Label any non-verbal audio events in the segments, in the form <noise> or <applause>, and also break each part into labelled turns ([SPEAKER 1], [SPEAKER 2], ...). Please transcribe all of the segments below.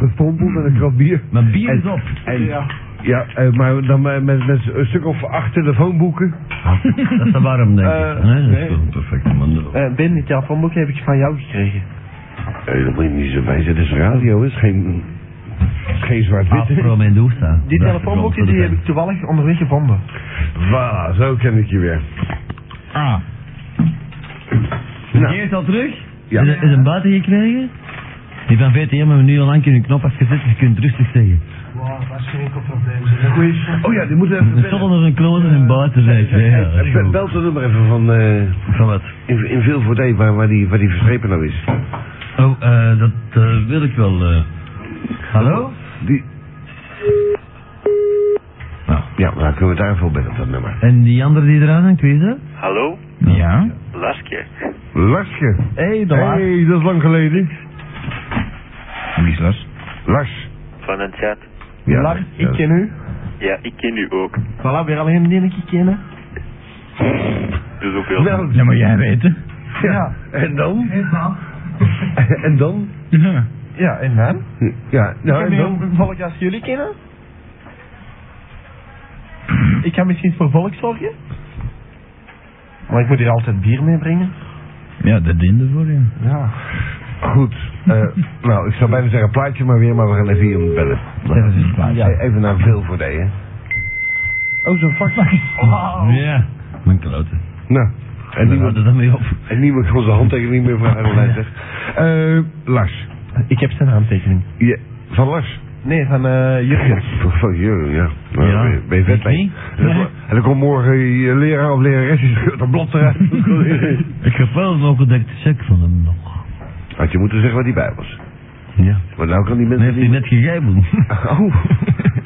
[SPEAKER 1] gestompeld met een krat bier.
[SPEAKER 2] Maar bier
[SPEAKER 1] En-
[SPEAKER 2] is op.
[SPEAKER 1] En, ja,
[SPEAKER 3] Ja.
[SPEAKER 1] eh, maar dan met, met, met een stuk of acht telefoonboeken.
[SPEAKER 2] Ah, Dat is te warm, denk ik.
[SPEAKER 1] Eh,
[SPEAKER 2] nee, dat is
[SPEAKER 1] nee.
[SPEAKER 2] toch een perfecte man.
[SPEAKER 3] Eh, ben, die telefoonboek heb ik van jou gekregen.
[SPEAKER 1] Eh, dat moet je niet zo bij zijn, het is radio, hè. het is geen, het is geen zwart-wit.
[SPEAKER 2] Afro Mendoza.
[SPEAKER 3] Die
[SPEAKER 2] Dat is
[SPEAKER 3] telefoonboeken
[SPEAKER 2] wel
[SPEAKER 3] die
[SPEAKER 2] voor
[SPEAKER 3] heb
[SPEAKER 2] de
[SPEAKER 3] ik toevallig onderweg gevonden.
[SPEAKER 1] Voilà, zo ken ik je weer.
[SPEAKER 2] pers. Ah.
[SPEAKER 1] Nou.
[SPEAKER 2] Die is al terug?
[SPEAKER 1] Ja.
[SPEAKER 2] Is, er- is een buiten gekregen? Die van VTM hebben we nu al lang in hun knop afgezet, je kunt rustig zeggen.
[SPEAKER 3] Wow, dat is geen enkel probleem. Goeie
[SPEAKER 1] Oh ja, die moeten even
[SPEAKER 2] Het is toch onder een kloot en een buiten, zeg je. Ja, dat is
[SPEAKER 1] Eh, be-
[SPEAKER 2] goed.
[SPEAKER 1] Bel het nummer even van eh,
[SPEAKER 2] Van wat?
[SPEAKER 1] in, in veel voordeel waar, waar, die, waar die verschepen nou is.
[SPEAKER 2] Oh, eh, dat eh, wil ik wel. eh. Hallo?
[SPEAKER 1] Die,
[SPEAKER 2] Nou.
[SPEAKER 1] ja, dan kunnen we daar even op bellen op dat nummer.
[SPEAKER 2] En die andere die eraan hangt, wie is dat? Nou.
[SPEAKER 4] Hallo,
[SPEAKER 2] Ja.
[SPEAKER 4] Lasje.
[SPEAKER 1] Larsje.
[SPEAKER 2] Hé, hey, de
[SPEAKER 1] Hé,
[SPEAKER 2] laatste.
[SPEAKER 1] hey, dat is lang geleden.
[SPEAKER 2] Wie is Lars?
[SPEAKER 1] Lars.
[SPEAKER 4] Van een chat.
[SPEAKER 1] Ja,
[SPEAKER 3] Lars,
[SPEAKER 1] ja.
[SPEAKER 3] ik ken u.
[SPEAKER 4] Ja, ik ken u ook.
[SPEAKER 3] Voilà, weer alleen die ik ken.
[SPEAKER 4] Dus hoeveel?
[SPEAKER 1] Nou,
[SPEAKER 2] Ja, maar jij weet het.
[SPEAKER 3] Ja.
[SPEAKER 1] en dan?
[SPEAKER 3] En dan?
[SPEAKER 1] <laughs> En dan?
[SPEAKER 2] Ja.
[SPEAKER 3] Ja, en dan?
[SPEAKER 1] Ja, nou
[SPEAKER 3] ik
[SPEAKER 1] en
[SPEAKER 3] heb
[SPEAKER 1] dan?
[SPEAKER 3] meer volk als jullie kennen. Ik ga misschien voor volk zorgen. Maar ik moet hier altijd bier meebrengen.
[SPEAKER 2] <laughs> Ja, dat diende voor je.
[SPEAKER 3] Ja.
[SPEAKER 1] Goed.
[SPEAKER 3] <laughs>
[SPEAKER 1] eh, nou, ik zou bijna zeggen plaatje maar weer, maar we gaan even iemand bellen.
[SPEAKER 2] Dat is een plaatje.
[SPEAKER 1] Eh, Even naar veel voor hè. Oh, zo'n fax.
[SPEAKER 2] Ja. Mijn kloten.
[SPEAKER 1] Nou, en
[SPEAKER 2] we
[SPEAKER 1] niemand,
[SPEAKER 2] houden daarmee op.
[SPEAKER 1] en niemand kon zijn handtekening meer vragen, lijkt het. Eh, Lars.
[SPEAKER 3] Ik heb zijn handtekening.
[SPEAKER 1] Je, van Lars.
[SPEAKER 3] Nee, van eh Jurgen.
[SPEAKER 1] Van Jurgen, ja. Nou,
[SPEAKER 2] Ja,
[SPEAKER 1] ben je- Ben je
[SPEAKER 2] ik
[SPEAKER 1] vet mee?
[SPEAKER 2] niet.
[SPEAKER 1] En dan- En dan komt morgen je leraar of lerares, die scheurt een blad eruit.
[SPEAKER 2] <laughs> Ik heb wel een ongedekte check van hem nog.
[SPEAKER 1] Had je moeten zeggen waar die bij was.
[SPEAKER 2] Ja.
[SPEAKER 1] Want nou kan die
[SPEAKER 2] Dat heeft
[SPEAKER 1] mensen niet...
[SPEAKER 2] hij net gegijbeld.
[SPEAKER 1] <laughs> Oh,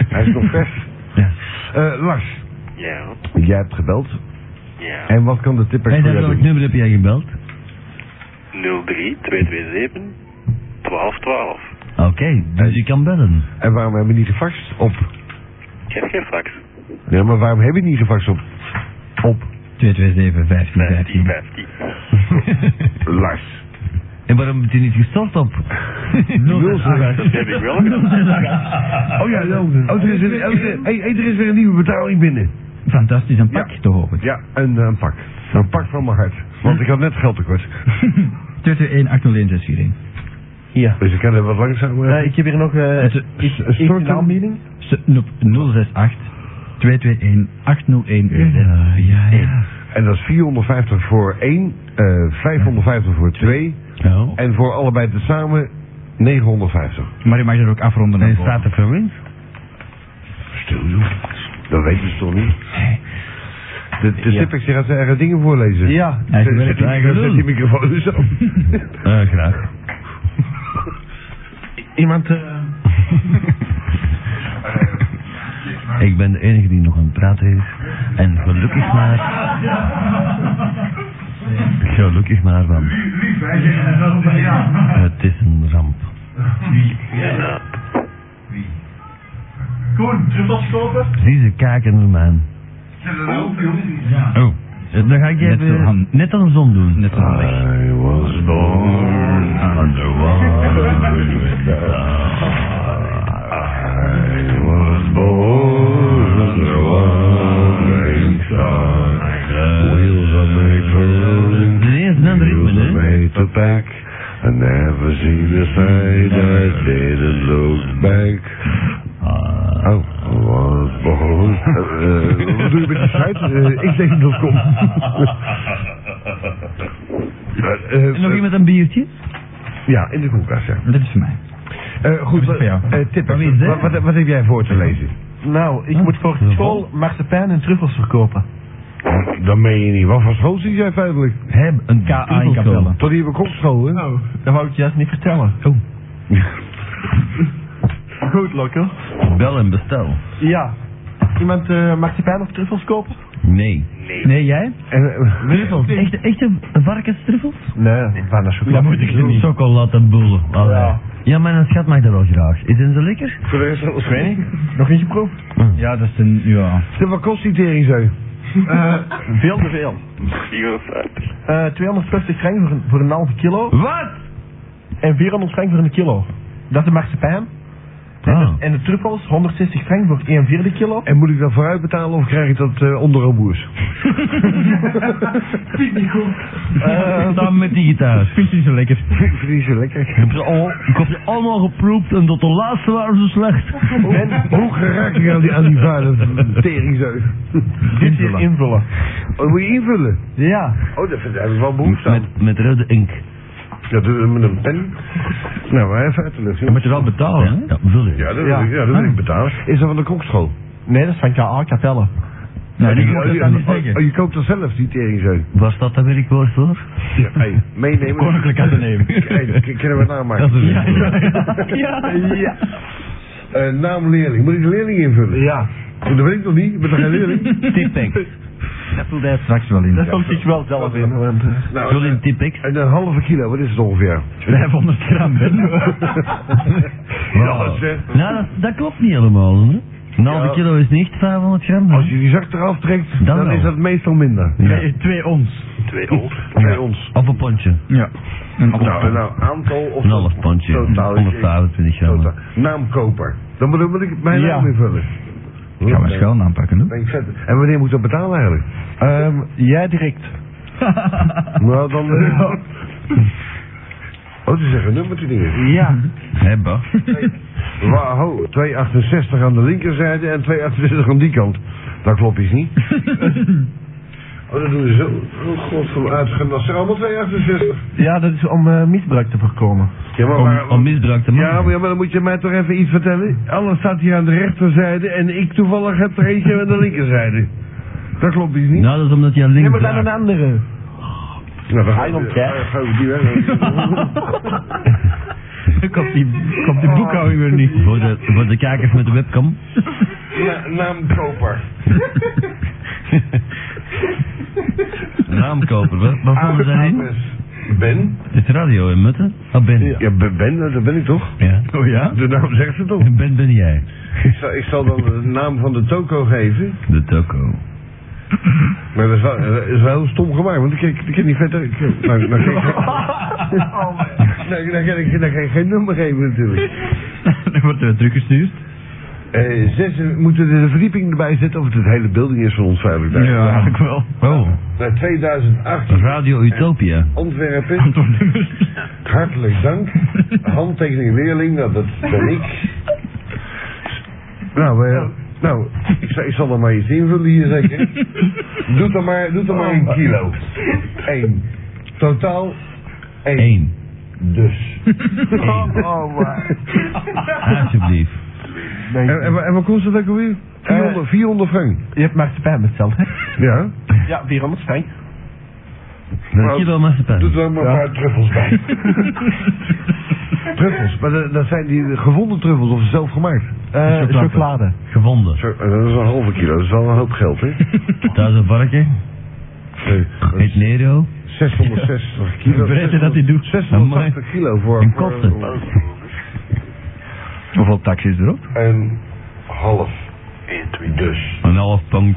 [SPEAKER 1] hij is nog vers.
[SPEAKER 2] Ja.
[SPEAKER 1] Eh, Lars,
[SPEAKER 4] Ja,
[SPEAKER 1] jij hebt gebeld.
[SPEAKER 4] ja.
[SPEAKER 1] En wat kan de tipper
[SPEAKER 2] Hey,
[SPEAKER 1] voor
[SPEAKER 2] daar
[SPEAKER 1] jou
[SPEAKER 2] welk
[SPEAKER 1] doen?
[SPEAKER 2] nummer heb jij gebeld?
[SPEAKER 4] 03 227 1212.
[SPEAKER 2] Oké, dus je kan bellen.
[SPEAKER 1] En waarom hebben we niet gefaxt op?
[SPEAKER 4] Ik heb geen fax.
[SPEAKER 1] Nee, maar waarom hebben we niet gefaxt op? Op
[SPEAKER 2] 227
[SPEAKER 4] 15
[SPEAKER 2] 1515.
[SPEAKER 4] 15.
[SPEAKER 1] Lars.
[SPEAKER 2] En waarom bent u niet gestort <laughs> op?
[SPEAKER 4] Dat heb ik wel
[SPEAKER 1] <laughs>
[SPEAKER 4] gedaan.
[SPEAKER 1] Oh ja, ja. Oh, er is een, oh, er- hey, hey, er is weer een nieuwe betaling binnen.
[SPEAKER 2] Fantastisch, een pakje te horen.
[SPEAKER 1] Ja, een, eh, een pak. Een pak van mijn hart. Want ik had net geld tekort. <laughs>
[SPEAKER 2] 221 801 641.
[SPEAKER 3] Ja.
[SPEAKER 1] Dus ik kan er wat langzamer.
[SPEAKER 3] Eh, ik heb hier nog eh
[SPEAKER 2] Het-
[SPEAKER 3] ik,
[SPEAKER 1] een
[SPEAKER 3] ik
[SPEAKER 1] soort-
[SPEAKER 3] een aanbieding.
[SPEAKER 2] Ze- op 068 221 801 Ja, ja, ja.
[SPEAKER 1] En dat is 450 voor 1, eh 550 voor 2
[SPEAKER 2] Nou.
[SPEAKER 1] en voor allebei tezamen 950.
[SPEAKER 2] Maar je mag er ook afronden. En staat er veel in?
[SPEAKER 1] Stil joh. Dat weten ze toch niet? De, de
[SPEAKER 3] Ja.
[SPEAKER 1] Tipex die gaat zijn eigen dingen voorlezen.
[SPEAKER 3] Ja.
[SPEAKER 2] Hij
[SPEAKER 1] Zet- Zet
[SPEAKER 2] werkt
[SPEAKER 1] die,
[SPEAKER 2] eigen
[SPEAKER 1] zet
[SPEAKER 2] lul.
[SPEAKER 1] die microfoon dus op.
[SPEAKER 2] <laughs> Eh, graag.
[SPEAKER 3] Iemand. eh,
[SPEAKER 2] <laughs> Ik ben de enige die nog aan het praten is. En gelukkig
[SPEAKER 3] <laughs>
[SPEAKER 2] maar. Gelukkig maar, want het is een ramp.
[SPEAKER 4] Ja,
[SPEAKER 3] Koen, truffels kopen?
[SPEAKER 2] Zie ze kijken naar mij. Oh. Dan ga ik je even net aan de zon doen. Ah. Net aan
[SPEAKER 1] I was born I was born under one great star. Wheels are made for rolling.
[SPEAKER 2] De eerste en de ritme,
[SPEAKER 1] Wheels are
[SPEAKER 2] hè?
[SPEAKER 1] made to pack. I never seen a sight I didn't look back. Oh. I was <laughs> born. Eh, Wat doe je met die site? Eh, Ik denk <laughs> dat komt.
[SPEAKER 2] En nog iemand een biertje?
[SPEAKER 1] eh, Ja, in de koelkast, ja.
[SPEAKER 2] Dat is voor mij.
[SPEAKER 1] Eh, goed,
[SPEAKER 2] Dat is voor jou.
[SPEAKER 1] eh, Tippers,
[SPEAKER 2] Van wie is dit?
[SPEAKER 1] wat, wat, wat heb jij voor te lezen?
[SPEAKER 3] Nou, ik
[SPEAKER 2] Ah,
[SPEAKER 3] moet voor
[SPEAKER 2] dat is
[SPEAKER 3] school marsepein en truffels verkopen.
[SPEAKER 1] Dan meen je niet. Wat voor school zit jij feitelijk?
[SPEAKER 2] Heb een KA in Capelle.
[SPEAKER 1] Tot hier bij kopschool, hè? Nou.
[SPEAKER 3] Dat wou ik juist niet vertellen.
[SPEAKER 2] Oh.
[SPEAKER 3] <laughs> Goed, Lokko.
[SPEAKER 2] Bel en bestel.
[SPEAKER 3] Ja. Iemand eh marsepein of truffels kopen?
[SPEAKER 2] Nee.
[SPEAKER 4] nee.
[SPEAKER 2] Nee, jij?
[SPEAKER 1] eh,
[SPEAKER 3] Truffels?
[SPEAKER 2] Echte, echte varkenstruffels?
[SPEAKER 3] Nee, van de chocolade.
[SPEAKER 2] Chocoladebullen. Ja.
[SPEAKER 3] Ja.
[SPEAKER 2] ja, mijn schat mag dat wel graag. Is ze lekker?
[SPEAKER 1] Voor de rest alles
[SPEAKER 3] weet Nog niet geproefd?
[SPEAKER 2] Ja, dat is een... <laughs> Ja.
[SPEAKER 1] Wat kost die tering zo?
[SPEAKER 3] Eh, veel te veel.
[SPEAKER 4] 54.
[SPEAKER 3] Eh 250 frank voor een, voor een halve kilo
[SPEAKER 2] Wat?
[SPEAKER 3] en 400 frank voor een kilo. Dat is de marsepein.
[SPEAKER 2] Ah.
[SPEAKER 3] En de truffels, 160 frank voor 1 vierde kilo.
[SPEAKER 1] En moet ik dat vooruit betalen of krijg ik dat eh onder een <laughs> boers?
[SPEAKER 2] dan met die
[SPEAKER 5] <laughs>
[SPEAKER 2] gitaar.
[SPEAKER 5] Vind je zo lekker?
[SPEAKER 1] Vind vind je zo lekker? <laughs>
[SPEAKER 2] Ik heb ze al- ik heb ze allemaal geproefd en tot de laatste waren ze slecht.
[SPEAKER 1] En hoe geraak ik aan die, aan die vuile teringzeug? <laughs>
[SPEAKER 3] Dit hier invullen.
[SPEAKER 1] Oh, moet je invullen?
[SPEAKER 2] Ja.
[SPEAKER 1] Oh, daar vind- daar heb ik wel behoefte aan.
[SPEAKER 2] Met, met rode ink.
[SPEAKER 1] Ja, doe- met een pen. Nou, maar even uit de lucht.
[SPEAKER 5] Dan moet
[SPEAKER 1] jongen.
[SPEAKER 5] je wel betalen, hè?
[SPEAKER 2] Ja, vul je.
[SPEAKER 1] Ja, dat
[SPEAKER 3] Ja.
[SPEAKER 1] wil ik, ja, dat wil ik betalen. Is dat van de kokschool?
[SPEAKER 3] Nee, dat is van KA Capelle.
[SPEAKER 5] Nou, die
[SPEAKER 1] Oh,
[SPEAKER 5] moet
[SPEAKER 1] je-
[SPEAKER 5] het dan niet
[SPEAKER 1] oh,
[SPEAKER 5] zeggen.
[SPEAKER 1] oh, je koopt dat zelf, die teringzeug?
[SPEAKER 2] Waar staat dat werkwoord voor?
[SPEAKER 1] Ja, hey, meenemen.
[SPEAKER 5] Koninklijk aan te nemen.
[SPEAKER 1] Hey, k- kunnen we het namaken?
[SPEAKER 5] Dat is het.
[SPEAKER 1] Ja. Eh, naam leerling. Moet ik de leerling invullen?
[SPEAKER 3] Ja.
[SPEAKER 1] Dat weet ik nog niet. Ik ben toch geen
[SPEAKER 5] <laughs>
[SPEAKER 1] leerling?
[SPEAKER 2] Tipex.
[SPEAKER 5] Dat vult hij straks wel in.
[SPEAKER 3] Dat komt zich wel zelf in. Want, eh,
[SPEAKER 1] Nou,
[SPEAKER 2] Vul
[SPEAKER 1] eh,
[SPEAKER 2] in Tipex.
[SPEAKER 1] en een halve kilo, wat is het ongeveer?
[SPEAKER 5] 500 gram, hè?
[SPEAKER 1] Ja, zeg.
[SPEAKER 2] Nou, dat, dat klopt niet helemaal. Hè? Een halve
[SPEAKER 1] Ja.
[SPEAKER 2] kilo is niet 500 gram. hè?
[SPEAKER 1] Als je die zak eraf trekt,
[SPEAKER 2] Dan
[SPEAKER 1] dan,
[SPEAKER 2] wel.
[SPEAKER 1] is dat meestal minder.
[SPEAKER 2] Ja.
[SPEAKER 5] Twee ons.
[SPEAKER 4] Twee ons.
[SPEAKER 1] Bij ons.
[SPEAKER 2] Of een pondje.
[SPEAKER 5] Ja. Een
[SPEAKER 1] Nou,
[SPEAKER 5] appel.
[SPEAKER 1] nou, aantal of...
[SPEAKER 2] Een half pondje.
[SPEAKER 1] Totaal.
[SPEAKER 2] 125 gram.
[SPEAKER 1] Totaal. Naamkoper. Dan moet, dan moet ik mijn
[SPEAKER 3] Ja.
[SPEAKER 1] naam invullen.
[SPEAKER 5] Gaan we schuil aanpakken, hè?
[SPEAKER 1] Ben ik vet. En wanneer moet ik dat betalen eigenlijk?
[SPEAKER 3] ehm, jij direct.
[SPEAKER 1] Nou, dan...
[SPEAKER 5] <laughs>
[SPEAKER 1] eh, Oh, ze zeggen nummer die dingen.
[SPEAKER 3] Ja.
[SPEAKER 5] Hebba.
[SPEAKER 1] Wauw, 268 aan de linkerzijde en 268 aan die kant. Dat klopt
[SPEAKER 5] <laughs>
[SPEAKER 1] iets niet. oh, dat doen ze zo. Oh, god van uitgaan. Dat zijn allemaal 268.
[SPEAKER 3] Ja, dat is om eh, misbruik te voorkomen.
[SPEAKER 1] Ja, maar,
[SPEAKER 5] Om, om misbruik te maken.
[SPEAKER 1] ja, maar, ja, maar dan moet je mij toch even iets vertellen. Alles staat hier aan de rechterzijde en ik toevallig heb er eentje aan de linkerzijde. Dat klopt iets niet.
[SPEAKER 2] Nou, dat is omdat je aan
[SPEAKER 3] Nee,
[SPEAKER 2] links
[SPEAKER 3] maar dan
[SPEAKER 2] draait.
[SPEAKER 3] een andere.
[SPEAKER 1] <laughs> Nou, dan
[SPEAKER 3] Hij komt, hè?
[SPEAKER 1] gaan we die
[SPEAKER 3] <laughs>
[SPEAKER 1] weg.
[SPEAKER 5] Ik had die, ik had die boekhouding weer niet.
[SPEAKER 2] Voor de, voor de kijkers met de webcam.
[SPEAKER 1] Na, naamkoper.
[SPEAKER 2] Raamkoper, wat? Wat vonden we daarin?
[SPEAKER 1] Ben?
[SPEAKER 2] Het is radio in Mutten. Ah, Ben. Ja.
[SPEAKER 1] Ja, Ben, ben, dat ben ik toch?
[SPEAKER 5] Oh ja?
[SPEAKER 1] De naam zegt het toch?
[SPEAKER 3] <laughs>
[SPEAKER 2] Ben ben jij.
[SPEAKER 1] Ik zal, ik zal dan de naam van de toko geven.
[SPEAKER 2] De toko.
[SPEAKER 1] Maar dat is wel, dat is wel heel stom gemaakt, want ik kan, ik kan niet verder. Ik, nou, nou, kan ik,
[SPEAKER 3] <laughs> Oh,
[SPEAKER 1] nou, nou kan ik, nou kan ik geen nummer geven natuurlijk.
[SPEAKER 5] <laughs> Dan wordt er teruggestuurd.
[SPEAKER 1] Eh zes, moeten we de verdieping erbij zetten of het het hele building is van ons veilig daar?
[SPEAKER 5] eigenlijk wel.
[SPEAKER 2] Oh,
[SPEAKER 1] Naar 2018
[SPEAKER 2] Radio Utopia.
[SPEAKER 1] Antwerpen, hartelijk dank. Handtekening leerling, nou, dat ben ik. Nou, eh, nou ik, zal, ik zal er maar iets invullen hier zeker. Doe er maar, doe er maar een kilo. Eén. Totaal één.
[SPEAKER 2] Eén.
[SPEAKER 1] Dus.
[SPEAKER 2] Eén.
[SPEAKER 3] Oh, maar.
[SPEAKER 2] Alsjeblieft.
[SPEAKER 1] En, en, wa- en wat kost dat ook alweer? 400, 400 frank.
[SPEAKER 3] Je hebt maar spijt besteld, hè?
[SPEAKER 1] Ja.
[SPEAKER 3] Ja, 400 frank.
[SPEAKER 2] Dank je wel,
[SPEAKER 1] Doet
[SPEAKER 2] Masterpijn.
[SPEAKER 1] er ook maar een paar truffels bij. truffels, maar dat, dat zijn die gevonden truffels of zelf gemaakt.
[SPEAKER 3] Eh,
[SPEAKER 2] Chocolade.
[SPEAKER 3] chocolade.
[SPEAKER 2] Gevonden.
[SPEAKER 1] Zo, eh, dat is een halve kilo, dat is wel een hoop geld, <laughs> hè?
[SPEAKER 2] Duizend varken.
[SPEAKER 1] Eh,
[SPEAKER 2] Heet Nero.
[SPEAKER 5] <laughs>
[SPEAKER 1] 660 kilo.
[SPEAKER 5] De breedte dat hij doet.
[SPEAKER 1] 680 kilo voor
[SPEAKER 2] En
[SPEAKER 1] voor-
[SPEAKER 2] kosten.
[SPEAKER 5] Hoeveel taxis erop?
[SPEAKER 1] Een half. Dus.
[SPEAKER 2] Een half pond.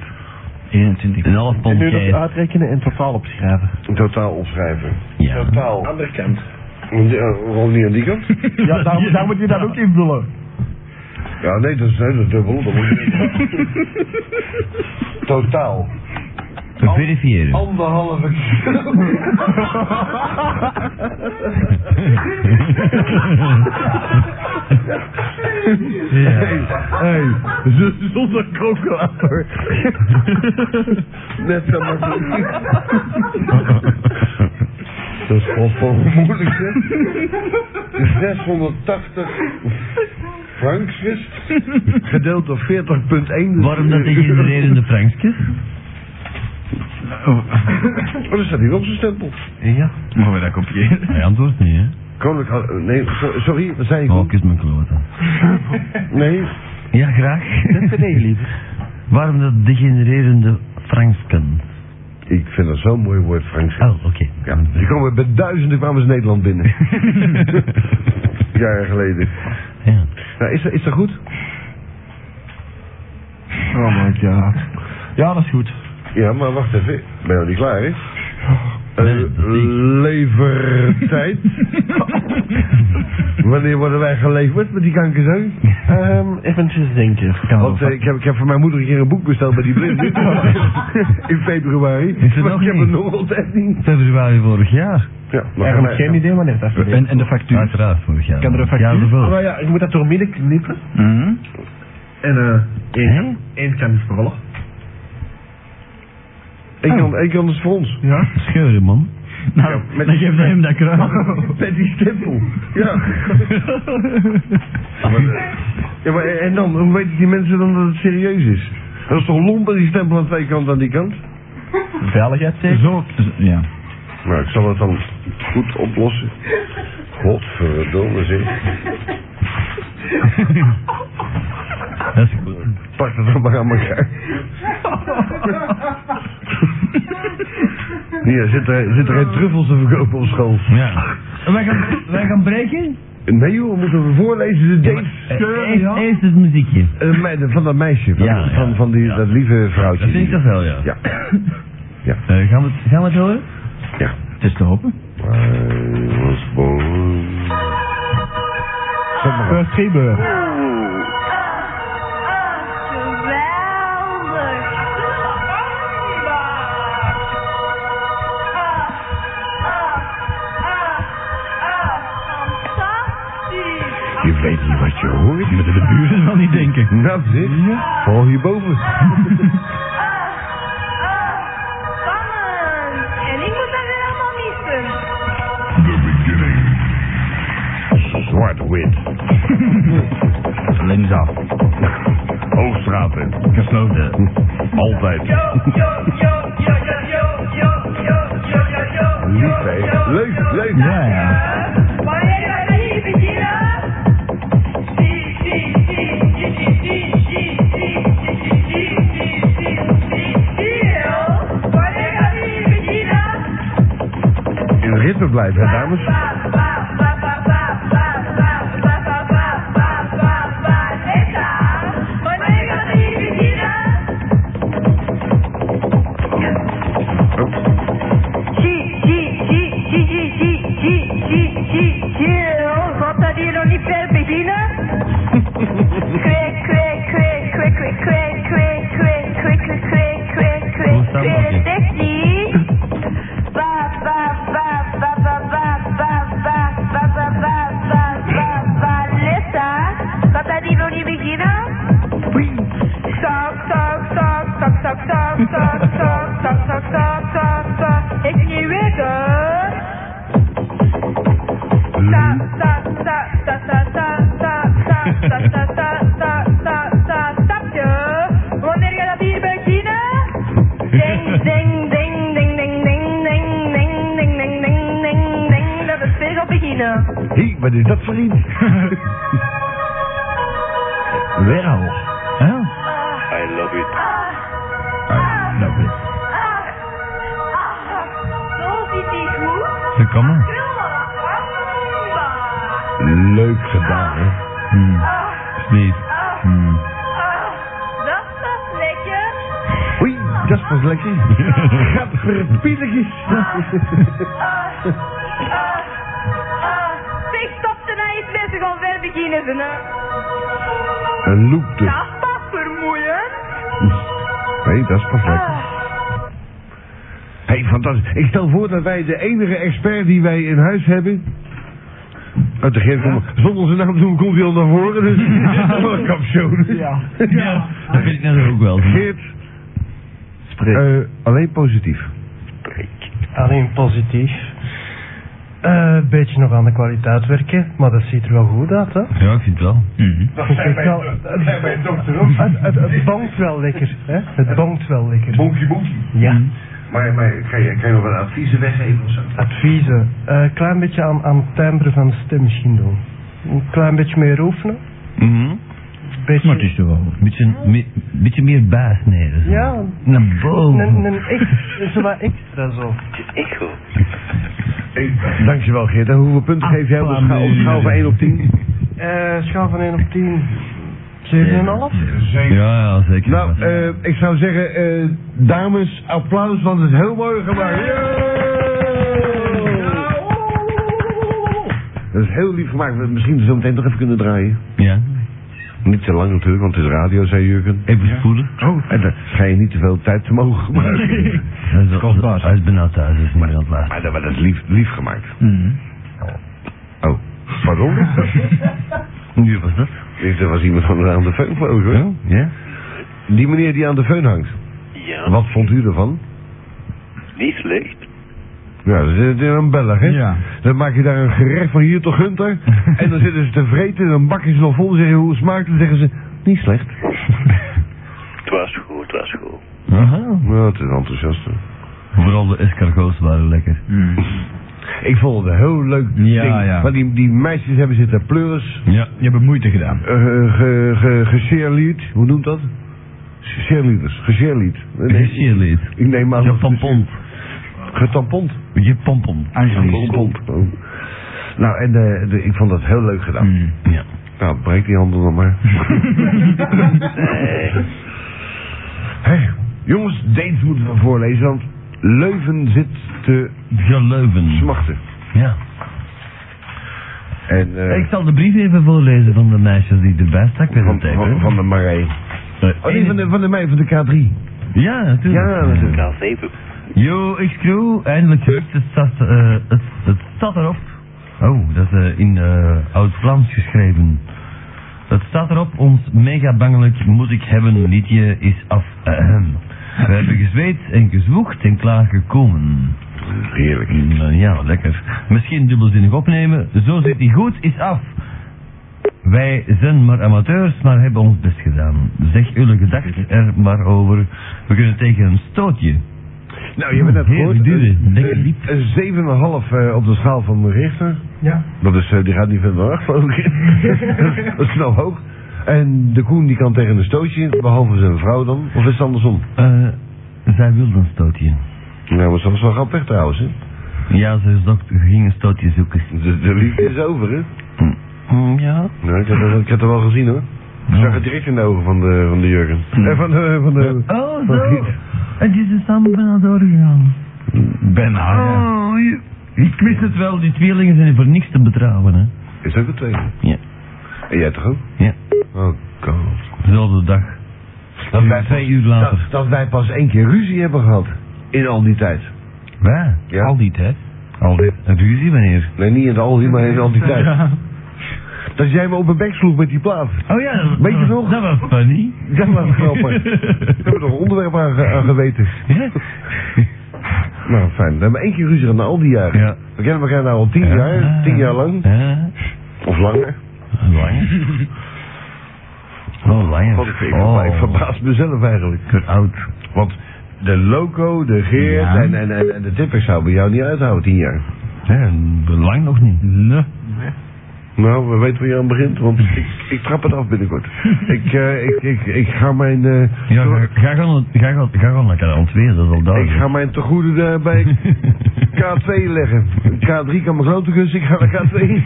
[SPEAKER 5] 21.
[SPEAKER 2] Een half pond
[SPEAKER 3] Nu dat
[SPEAKER 2] jij.
[SPEAKER 3] uitrekenen en totaal opschrijven.
[SPEAKER 1] In totaal opschrijven.
[SPEAKER 2] Ja.
[SPEAKER 1] Totaal. Andere kant. Waarom niet aan die
[SPEAKER 5] <laughs>
[SPEAKER 1] kant?
[SPEAKER 3] Ja, daar, daar moet je dat ook invullen.
[SPEAKER 1] Ja, nee, dat is, nee, dat is dubbel. Dat moet je
[SPEAKER 5] <laughs>
[SPEAKER 1] niet. Totaal.
[SPEAKER 2] Verifiëren.
[SPEAKER 1] Anderhalve kilo.
[SPEAKER 2] <laughs> Ja.
[SPEAKER 1] Hey, z- zonder <laughs> kookwater. Net zo makkelijk. <laughs> Dat is gewoon voor moeilijk, hè? 680 frankjes gedeeld door 40.1.
[SPEAKER 2] Waarom dat die genererende prankjes?
[SPEAKER 1] Oh, er staat hier ook zo'n stempel.
[SPEAKER 5] Ja. Mogen we dat kopiëren?
[SPEAKER 2] Hij antwoordt niet, hè?
[SPEAKER 1] Koninklijk... eh, Nee, so- sorry, wat zei ik?
[SPEAKER 2] Oh, kus mijn kloten.
[SPEAKER 1] Nee,
[SPEAKER 2] Ja, graag.
[SPEAKER 3] Nee, liever.
[SPEAKER 2] Waarom dat degenererende Franksken?
[SPEAKER 1] ik vind dat zo'n mooi woord, frankjes.
[SPEAKER 2] Oh, oké.
[SPEAKER 1] Ja, die komen bij duizenden kwamen ze Nederland
[SPEAKER 2] <laughs>
[SPEAKER 1] binnen. Jaren geleden.
[SPEAKER 2] Ja.
[SPEAKER 1] Nou, is, dat- is dat goed?
[SPEAKER 3] Oh my god. Ja, dat is goed.
[SPEAKER 1] Ja, maar wacht even. Ik Ben je nog niet klaar, hè? Eh,
[SPEAKER 2] Nee, dat niet. <laughs>
[SPEAKER 1] levertijd. Wanneer worden wij geleverd met die kankers ook?
[SPEAKER 3] Ehm, eventjes denken. Kan
[SPEAKER 1] Want eh, ik, heb, ik heb voor mijn moeder een keer een boek besteld bij die blind.
[SPEAKER 2] <laughs>
[SPEAKER 1] <laughs> In februari.
[SPEAKER 2] Is het
[SPEAKER 1] maar
[SPEAKER 2] nog
[SPEAKER 1] ik heb
[SPEAKER 2] niet?
[SPEAKER 1] het nog altijd niet.
[SPEAKER 5] Februari vorig jaar.
[SPEAKER 1] Ja, maar nou,
[SPEAKER 3] Eigenlijk geen idee wanneer dat is.
[SPEAKER 5] En, en de factuur.
[SPEAKER 2] Uiteraard vorig jaar.
[SPEAKER 5] Kan er een
[SPEAKER 2] Ja,
[SPEAKER 5] factuur?
[SPEAKER 2] hoeveel?
[SPEAKER 3] Maar ja, ik moet dat door midden knippen.
[SPEAKER 5] Mhm.
[SPEAKER 3] En eh, één,
[SPEAKER 5] Hè?
[SPEAKER 3] één kan niet vervallen.
[SPEAKER 1] Ik kan, ik kan dus voor ons.
[SPEAKER 3] Ja?
[SPEAKER 2] Scheuren, man.
[SPEAKER 5] Nou,
[SPEAKER 1] met-
[SPEAKER 5] dan geef je hem dat kruis.
[SPEAKER 2] <laughs>
[SPEAKER 1] Met die stempel. Ja. Maar, eh, ja maar, en dan, hoe weten die mensen dan dat het serieus is? Dat is toch lomp, die stempel aan twee kanten aan die kant?
[SPEAKER 3] Veiligheid zeker?
[SPEAKER 5] Zo, ja.
[SPEAKER 1] Nou, ik zal het dan goed oplossen. Godverdomme zeg.
[SPEAKER 2] Dat is goed.
[SPEAKER 1] Pak dat dan maar aan elkaar. Hier, zit er, zit er geen truffels te verkopen op school?
[SPEAKER 2] Ja.
[SPEAKER 5] Wij gaan, wij gaan breken? Eh,
[SPEAKER 1] Nee joh, we moeten we voorlezen de dates
[SPEAKER 2] Eerst, eerst het muziekje.
[SPEAKER 1] eh, mei- van dat meisje, van,
[SPEAKER 2] Ja, ja.
[SPEAKER 1] van, van die, dat lieve vrouwtje.
[SPEAKER 2] Dat vind ik toch wel, ja.
[SPEAKER 1] Ja.
[SPEAKER 2] Eh, gaan, we het, gaan we het horen?
[SPEAKER 1] Ja.
[SPEAKER 5] Het is te hopen.
[SPEAKER 1] I was born. Zet maar op. Je weet niet wat je hoort.
[SPEAKER 5] Moeten de buren wel niet denken.
[SPEAKER 1] Nou, dit. Val hierboven. The beginning. Zwart wit.
[SPEAKER 5] Linksaf.
[SPEAKER 1] Hoogstraten.
[SPEAKER 5] Gesloten.
[SPEAKER 1] Altijd. Lief, hè? Leuk, leuk.
[SPEAKER 5] Ja, ja.
[SPEAKER 1] In het ritme blijven, hè, dames?
[SPEAKER 6] Techniek. Ba ba ba ba ba ba ba ba ba ba ba ba ba ba letta. Wat dat die nog niet beginnen? Sok sok sok sok sok sok sok sok sok sok sok sok sok. Ik niet weten. Ta ta ta ta ta ta ta ta ta ta ta ta ta ta tapje. Wanneer gaat dat hier beginnen? Ding, ding, ding, ding, ding, ding, ding, ding, ding, ding, ding, ding, ding, dat het weer gaat beginnen.
[SPEAKER 1] Hé, wat is dat voor iets?
[SPEAKER 5] Weer al. Ja.
[SPEAKER 4] I love it.
[SPEAKER 1] Ah,
[SPEAKER 5] Nou,
[SPEAKER 6] Ze
[SPEAKER 5] Ze
[SPEAKER 2] Ah.
[SPEAKER 5] komen.
[SPEAKER 1] Leuk gedaan, hè?
[SPEAKER 2] Hmm.
[SPEAKER 5] Hm. Is niet. Hm.
[SPEAKER 6] Ah, Dat was lekker.
[SPEAKER 1] Oei, dat is pas <laughs> lekker. Gadverpielekjes.
[SPEAKER 6] Zeg, stop er nou eens mee, ze gaan weer beginnen. Ze, hè.
[SPEAKER 1] Een loop dus.
[SPEAKER 6] Dat is pas vermoeiend.
[SPEAKER 1] Nee, dat is pas lekker. Hé, hey, fantastisch. Ik stel voor dat wij de enige expert die wij in huis hebben... Uit de geef, zonder zijn naam te doen komt hij al naar voren, <laughs> dus... Wat een kapsjoen.
[SPEAKER 3] Ja.
[SPEAKER 2] Ja, dat vind ik net ook wel.
[SPEAKER 1] Geert, eh, alleen positief.
[SPEAKER 7] Alleen positief. Eh, Een beetje nog aan de kwaliteit werken, maar dat ziet er wel goed uit, hè?
[SPEAKER 2] Ja, ik vind het wel.
[SPEAKER 1] Mhm.
[SPEAKER 7] Dat zijn wij, wel, dokter ook. Het, het, het bonkt wel lekker, hè? Het bonkt wel lekker.
[SPEAKER 1] Bonkie bonkie.
[SPEAKER 7] Ja.
[SPEAKER 1] Maar, maar kan, je, kan je nog wat adviezen weggeven of zo?
[SPEAKER 7] Adviezen. Eh, Een klein beetje aan, aan het timbre van de stem misschien doen. Een klein beetje meer oefenen. Een
[SPEAKER 2] Mhm. Maar het
[SPEAKER 7] beetje...
[SPEAKER 2] is toch wel een beetje, een beetje meer baas neer. zo.
[SPEAKER 7] Ja,
[SPEAKER 2] Naar
[SPEAKER 7] een,
[SPEAKER 2] boven.
[SPEAKER 7] een extra, zo wat extra zo.
[SPEAKER 4] Echo.
[SPEAKER 1] Dankjewel Geert. En hoeveel punten geef jij op de schaal, op de schaal Ah, van 1 op 10?
[SPEAKER 7] Eh schaal van 1 op 10. 7,5?
[SPEAKER 2] Ja, ja, zeker.
[SPEAKER 1] Nou, eh, ik zou zeggen, eh, dames, applaus, want het is Nou. heel mooi gemaakt. Yeah! Dat is heel lief gemaakt. We Misschien zo meteen nog even kunnen draaien.
[SPEAKER 2] Ja.
[SPEAKER 1] Niet te lang natuurlijk, want het is radio, zei Jurgen.
[SPEAKER 2] Even spoelen.
[SPEAKER 1] Oh, en dan schijn je niet te veel tijd te mogen gebruiken. <laughs>
[SPEAKER 2] Dat is kostbaar. Hij is benauwd thuis, dus niet meer aan het
[SPEAKER 1] Maar dat,
[SPEAKER 2] luisteren.
[SPEAKER 1] maar dat is lief, lief gemaakt.
[SPEAKER 5] Mhm.
[SPEAKER 1] Oh,
[SPEAKER 2] <laughs>
[SPEAKER 1] pardon?
[SPEAKER 2] Nu was dat?
[SPEAKER 1] er was iemand van aan de feun vloog, hoor.
[SPEAKER 2] Ja?
[SPEAKER 1] Die meneer die aan de feun hangt.
[SPEAKER 4] Ja,
[SPEAKER 1] Wat vond u ervan?
[SPEAKER 4] niet slecht.
[SPEAKER 1] Ja, dat is een Belg, hè?
[SPEAKER 5] Ja.
[SPEAKER 1] Dan maak je daar een gerecht van hier tot Gunter.
[SPEAKER 2] <laughs>
[SPEAKER 1] en dan zitten ze te vreten en dan bakken ze nog vol. Zeggen hoe het smaakt. Dan zeggen ze, niet slecht.
[SPEAKER 4] Het was goed, het was goed.
[SPEAKER 2] Aha.
[SPEAKER 1] Nou, het is enthousiast. hè.
[SPEAKER 2] Vooral de escargots waren lekker.
[SPEAKER 1] Mm. Ik vond het een heel leuk
[SPEAKER 5] Ja,
[SPEAKER 1] ding.
[SPEAKER 5] ja.
[SPEAKER 1] Want die, die meisjes hebben zitten pleuris.
[SPEAKER 5] Ja, je hebt moeite gedaan.
[SPEAKER 1] eh ge, ge, gecheerlead. Hoe noemt dat? Cheerleaders. Gecheerlead.
[SPEAKER 2] Is je lid?
[SPEAKER 1] Ik neem aan...
[SPEAKER 2] Je
[SPEAKER 1] dat-
[SPEAKER 2] pompont.
[SPEAKER 1] Getampond.
[SPEAKER 2] Je pompon.
[SPEAKER 5] Aangezien.
[SPEAKER 1] Oh. Nou, en eh, de- ik vond dat heel leuk gedaan.
[SPEAKER 5] Mm.
[SPEAKER 2] Ja.
[SPEAKER 1] Nou, breek die handen dan <laughs> maar. Hé, jongens, deze moeten we voorlezen, want Leuven zit te
[SPEAKER 2] Geleuven.
[SPEAKER 1] smachten.
[SPEAKER 2] Ja.
[SPEAKER 1] En, eh,
[SPEAKER 2] Ik zal de brief even voorlezen van de meisjes die erbij stak bij de
[SPEAKER 1] van,
[SPEAKER 2] tijd.
[SPEAKER 1] van,
[SPEAKER 2] hè.
[SPEAKER 1] van de Marij.
[SPEAKER 2] Eh,
[SPEAKER 1] Oh, nee, van de, van de mij, van de K3.
[SPEAKER 2] Ja, natuurlijk.
[SPEAKER 1] Ja, dat is het.
[SPEAKER 4] Kaal 7.
[SPEAKER 2] Yo, ik schreeuw, eindelijk lukt het, staat, eh, het, het staat erop. Oh, dat is eh, in eh, Oud-Vlaams geschreven. Het staat erop, ons mega bangelijk moet ik hebben liedje is af. Ahem. <clears throat> We hebben gezweet en gezwoegd en klaargekomen.
[SPEAKER 1] Heerlijk.
[SPEAKER 2] Nou ja, lekker. Misschien dubbelzinnig opnemen, zo zit hij goed, is af. Wij zijn maar amateurs, maar hebben ons best gedaan. Zeg jullie gedachten er maar over. We kunnen tegen een stootje.
[SPEAKER 1] Nou, je bent net gehoord. Eh,
[SPEAKER 2] Heerlijk duwen.
[SPEAKER 1] Een-
[SPEAKER 2] Lekker
[SPEAKER 1] een-
[SPEAKER 2] diep.
[SPEAKER 1] Een 7,5 eh, op de schaal van Richter.
[SPEAKER 7] Ja.
[SPEAKER 1] Dat is, eh, die gaat niet verder <laughs> weg, geloof ik. dat is snel hoog. En de Koen die kan tegen een stootje, behalve zijn vrouw dan. Of is het andersom?
[SPEAKER 2] Eh, zij wilde een stootje.
[SPEAKER 1] Nou, maar soms wel gaat weg trouwens, hè.
[SPEAKER 2] Ja, ze zocht, ging een stootje zoeken.
[SPEAKER 1] De, de liefde is over, hè?
[SPEAKER 2] Hmm, ja?
[SPEAKER 1] Nou, ik heb, dat- ik heb dat wel gezien, hoor. Ik zag het direct in de ogen van de, van de Jurgen. Eh, van de... Van de van
[SPEAKER 2] Oh, zo.
[SPEAKER 1] Riet.
[SPEAKER 2] Het is er samen bijna doorgegaan.
[SPEAKER 5] Bijna, ja.
[SPEAKER 2] Oh, je- ik wist het wel, die tweelingen zijn voor niks te betrouwen, hè.
[SPEAKER 1] Is ook een tweede.
[SPEAKER 2] Ja.
[SPEAKER 1] En jij toch ook?
[SPEAKER 2] Ja.
[SPEAKER 1] Oh, god.
[SPEAKER 2] Dezelfde dag.
[SPEAKER 1] Dat wij,
[SPEAKER 2] Twee
[SPEAKER 1] pas,
[SPEAKER 2] uur later.
[SPEAKER 1] Dat, dat wij pas één keer ruzie hebben gehad. In al die tijd.
[SPEAKER 2] Waar?
[SPEAKER 1] Ja.
[SPEAKER 2] Al die tijd. Al dit. Een ruzie, wanneer?
[SPEAKER 1] Nee, niet in al die, maar in al <laughs> die tijd. Dat jij me op mijn bek sloeg met die plaat.
[SPEAKER 2] Oh ja, dat-
[SPEAKER 1] Weet je
[SPEAKER 2] dat-
[SPEAKER 1] nog?
[SPEAKER 2] Dat was <laughs> funny.
[SPEAKER 1] Dat was <laughs> grappig. We hebben er een onderwerp aan, ge- aan geweten.
[SPEAKER 2] Ja.
[SPEAKER 1] Nou, fijn. We hebben één keer ruzie gehad na al die jaren.
[SPEAKER 2] Ja.
[SPEAKER 1] We kennen elkaar nou al tien jaar. Tien jaar lang.
[SPEAKER 2] Ja.
[SPEAKER 1] Of langer.
[SPEAKER 2] Langer. <laughs> Oh, langer.
[SPEAKER 1] Want ik, ik,
[SPEAKER 2] oh.
[SPEAKER 1] ik verbaas mezelf eigenlijk.
[SPEAKER 2] Ik word oud.
[SPEAKER 1] Want de Loco, de Geert
[SPEAKER 2] Ja.
[SPEAKER 1] en, en, en, en de Tippers zouden bij jou niet uithouden tien jaar.
[SPEAKER 2] Ja, lang nog niet. Nee.
[SPEAKER 1] Nou, we weten waar je aan begint, <laughs> want ik, ik trap het af <laughs> binnenkort. ik, eh, ik, ik, ik ga mijn... eh,
[SPEAKER 2] Ja, ga, ga gewoon, ga gewoon, ga gewoon lekker aan het weer, dat is al
[SPEAKER 1] ik
[SPEAKER 2] duidelijk.
[SPEAKER 1] ga mijn tegoeden eh, bij
[SPEAKER 2] <laughs>
[SPEAKER 1] K2 leggen. K3 kan mijn grote kus, ik ga naar K2.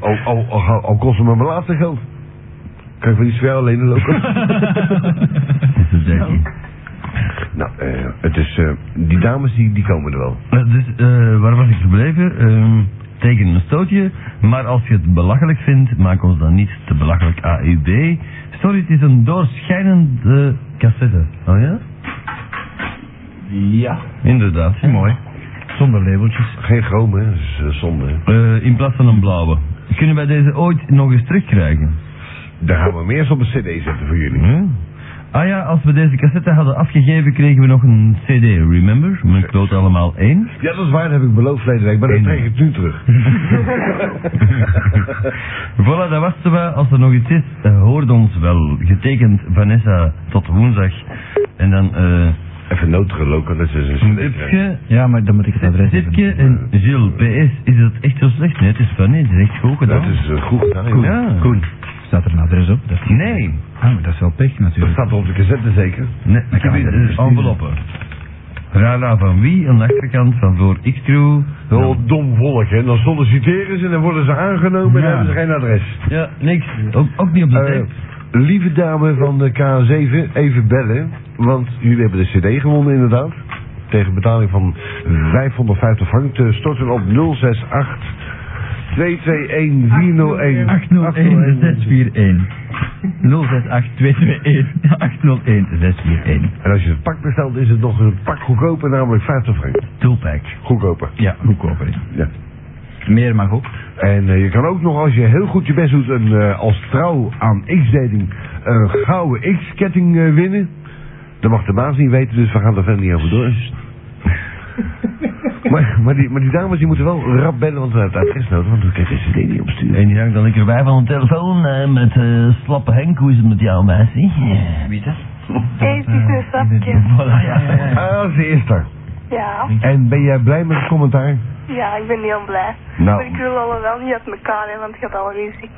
[SPEAKER 1] al, al, al, ga- al kost het me mijn laatste geld. Kijk van die sfeer alleen een loco.
[SPEAKER 2] Dat is duidelijk.
[SPEAKER 1] nou, eh, het is... eh, die dames die, die komen er wel.
[SPEAKER 2] Eh, Dus, eh, waar was ik gebleven? Ehm, teken een stootje, maar als je het belachelijk vindt, maak ons dan niet te belachelijk AED. Sorry, het is een doorschijnende cassette. Oh ja?
[SPEAKER 5] Ja.
[SPEAKER 2] Inderdaad.
[SPEAKER 5] Mooi. Zonder labeltjes.
[SPEAKER 1] Geen groom, hè. Dat is eh, zonde. hè.
[SPEAKER 2] Eh, in plaats van een blauwe. Kunnen wij deze ooit nog eens terugkrijgen?
[SPEAKER 1] Daar gaan we hem eerst op een cd zetten voor jullie.
[SPEAKER 2] Ja. Ah ja, als we deze cassette hadden afgegeven, kregen we nog een cd, remember? Mijn kloot allemaal één.
[SPEAKER 1] Ja, dat is waar, dat heb ik beloofd verleden week, maar dat
[SPEAKER 2] In-
[SPEAKER 1] trek ik nu terug.
[SPEAKER 2] Voilà, dat was het wel. Als er nog iets is, eh, hoort ons wel. Getekend Vanessa tot woensdag. En dan eh
[SPEAKER 1] Even notere loco, dat is een cd.
[SPEAKER 2] Zipke,
[SPEAKER 5] Ja, maar dan moet ik het adres
[SPEAKER 2] Zipke
[SPEAKER 5] hebben.
[SPEAKER 2] en Gilles. PS, is dat echt zo slecht? Nee, het is funny. Het is echt goed
[SPEAKER 1] Dat
[SPEAKER 2] gedaan.
[SPEAKER 1] is eh, goed gedaan.
[SPEAKER 2] Koen.
[SPEAKER 1] joh.
[SPEAKER 2] Ja.
[SPEAKER 5] Koen. Staat er een adres op? Dat...
[SPEAKER 2] Nee.
[SPEAKER 5] Ah, maar dat is wel pech
[SPEAKER 1] Dat
[SPEAKER 5] natuurlijk.
[SPEAKER 1] staat op de cassette zeker.
[SPEAKER 2] nee.
[SPEAKER 5] Dan kan
[SPEAKER 2] Ik
[SPEAKER 5] je dat dus
[SPEAKER 2] heb hier, eh,
[SPEAKER 5] versturen.
[SPEAKER 2] enveloppen. Rara van wie? Aan de achterkant van voor X-Crew.
[SPEAKER 1] Heel dom volk, hè. Dan solliciteren ze en dan worden ze aangenomen en
[SPEAKER 5] Ja.
[SPEAKER 1] dan hebben ze geen adres.
[SPEAKER 2] Ja, niks. Ook, ook niet op de
[SPEAKER 1] Eh,
[SPEAKER 2] tape.
[SPEAKER 1] lieve dame van de K7, even bellen. Want jullie hebben de cd gewonnen inderdaad. tegen betaling van 550 frank te storten op 068 221 401.
[SPEAKER 5] 801 641. 068 221 801 641.
[SPEAKER 1] En als je het pak bestelt, is het nog een pak goedkoper, namelijk 50 frank.
[SPEAKER 5] Toolpack.
[SPEAKER 1] Goedkoper.
[SPEAKER 5] Ja, goedkoper. is.
[SPEAKER 1] Ja.
[SPEAKER 5] Meer mag ook.
[SPEAKER 1] En eh, je kan ook nog, als je heel goed je best doet, een, eh, als trouw aan X-dating een gouden X-ketting eh, winnen. Dat mag de baas niet weten, dus we gaan er verder niet over door. maar, maar, die, maar die dames die moeten wel rap bellen, want we hebben het adres nodig, want we krijgen ze CD niet opsturen.
[SPEAKER 2] En die hangt dan lekker bij van de telefoon eh, met eh, slappe Henk. Hoe is het met jou, meisje?
[SPEAKER 5] Wie is dat?
[SPEAKER 6] Eentje een sapje.
[SPEAKER 2] Voilà, ja, ja, ja.
[SPEAKER 1] Ah, ze is er.
[SPEAKER 6] Ja.
[SPEAKER 1] En ben jij blij met het commentaar?
[SPEAKER 6] ja, ik ben heel blij.
[SPEAKER 1] Nou.
[SPEAKER 6] Maar ik wil alle wel niet uit elkaar, hè, want het gaat al ruzie.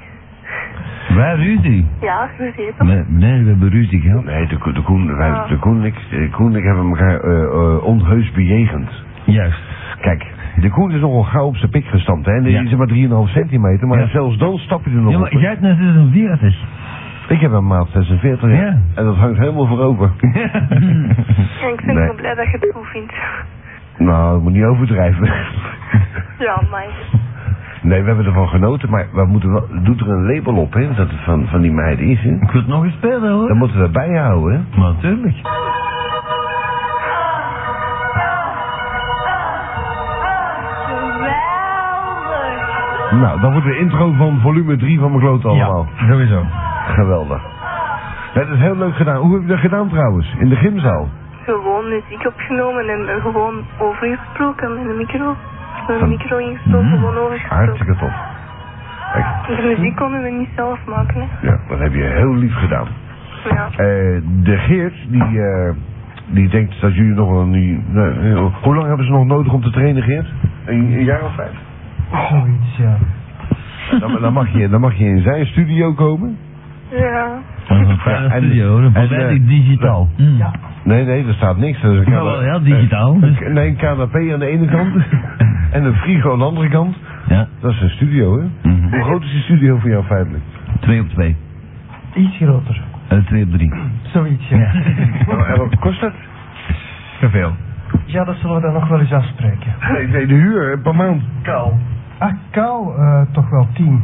[SPEAKER 2] Wij ruzie?
[SPEAKER 6] Ja, je ziet het.
[SPEAKER 1] Eh,
[SPEAKER 2] Nee, nee, we hebben ruzie gehad.
[SPEAKER 1] Nee, de, Ko- de, Koen, wij- de, Koen, en ik, de Koen en ik hebben elkaar eh, eh, onheus bejegend.
[SPEAKER 2] Juist.
[SPEAKER 1] Kijk, de Koen is nogal gauw op zijn pik gestampt, hè. En die
[SPEAKER 2] Ja.
[SPEAKER 1] is maar 3,5 centimeter, maar
[SPEAKER 2] Ja.
[SPEAKER 1] zelfs dan stap je er nog
[SPEAKER 2] Ja,
[SPEAKER 1] op.
[SPEAKER 2] maar jij hebt net 46.
[SPEAKER 1] Ik heb een maat 46
[SPEAKER 2] Ja.
[SPEAKER 1] en dat hangt helemaal voor open.
[SPEAKER 6] En ik ben
[SPEAKER 1] Nee.
[SPEAKER 6] heel blij dat je het goed vindt.
[SPEAKER 1] nou, dat moet niet overdrijven. <laughs>
[SPEAKER 6] Ja, maar.
[SPEAKER 1] nee, we hebben ervan genoten, maar we moeten wel, doet er een label op, hè, dat het van, van die meid is, hè.
[SPEAKER 2] Ik wil het nog eens spelen hoor.
[SPEAKER 1] Dan moeten we dat bijhouden, hè.
[SPEAKER 2] Maar natuurlijk.
[SPEAKER 6] Geweldig.
[SPEAKER 1] Nou, dan wordt de intro van volume 3 van mijn kloot allemaal.
[SPEAKER 2] sowieso.
[SPEAKER 1] Geweldig. Dat is heel leuk gedaan. Hoe heb je dat gedaan trouwens? In de gymzaal?
[SPEAKER 6] Gewoon muziek opgenomen en er gewoon overgesproken met een micro. Met
[SPEAKER 1] Van- Mm.
[SPEAKER 6] een micro ingestoken, gewoon overgesproken.
[SPEAKER 1] Hartstikke tof. Kijk,
[SPEAKER 6] De muziek konden we niet zelf maken, hè.
[SPEAKER 1] ja, dat heb je heel lief gedaan.
[SPEAKER 6] Ja.
[SPEAKER 1] Eh, de Geert, die, eh, die denkt dat jullie nog wel niet... nee, nee, hoe lang hebben ze nog nodig om te trainen, Geert? Een, een jaar of vijf?
[SPEAKER 7] Zoiets, ja.
[SPEAKER 1] Dan, dan, mag je, dan mag je in zijn studio komen.
[SPEAKER 6] Ja.
[SPEAKER 2] Dat is een fijne
[SPEAKER 1] Ja, en-
[SPEAKER 2] studio hoor.
[SPEAKER 1] en,
[SPEAKER 2] Volledig
[SPEAKER 1] eh,
[SPEAKER 2] digitaal. Ja.
[SPEAKER 1] Nee, nee, er staat niks. Dat is een
[SPEAKER 2] Nou
[SPEAKER 1] kana-
[SPEAKER 2] wel, ja, digitaal. Dus.
[SPEAKER 1] eh, nee, een canapé aan de ene kant
[SPEAKER 2] <laughs>
[SPEAKER 1] en een frigo aan de andere kant.
[SPEAKER 2] Ja.
[SPEAKER 1] Dat is een studio, hè?
[SPEAKER 2] Mhm.
[SPEAKER 1] Hoe groot is die studio voor jou feitelijk?
[SPEAKER 2] Twee op twee.
[SPEAKER 7] Iets groter.
[SPEAKER 2] Eh, twee op drie.
[SPEAKER 7] Zoiets, ja. ja.
[SPEAKER 1] Nou, en wat kost dat?
[SPEAKER 2] Zoveel.
[SPEAKER 7] dat zullen we dan nog wel eens afspreken.
[SPEAKER 1] Nee, nee, de huur eh, per maand.
[SPEAKER 7] Ah, kou, eh, toch wel tien.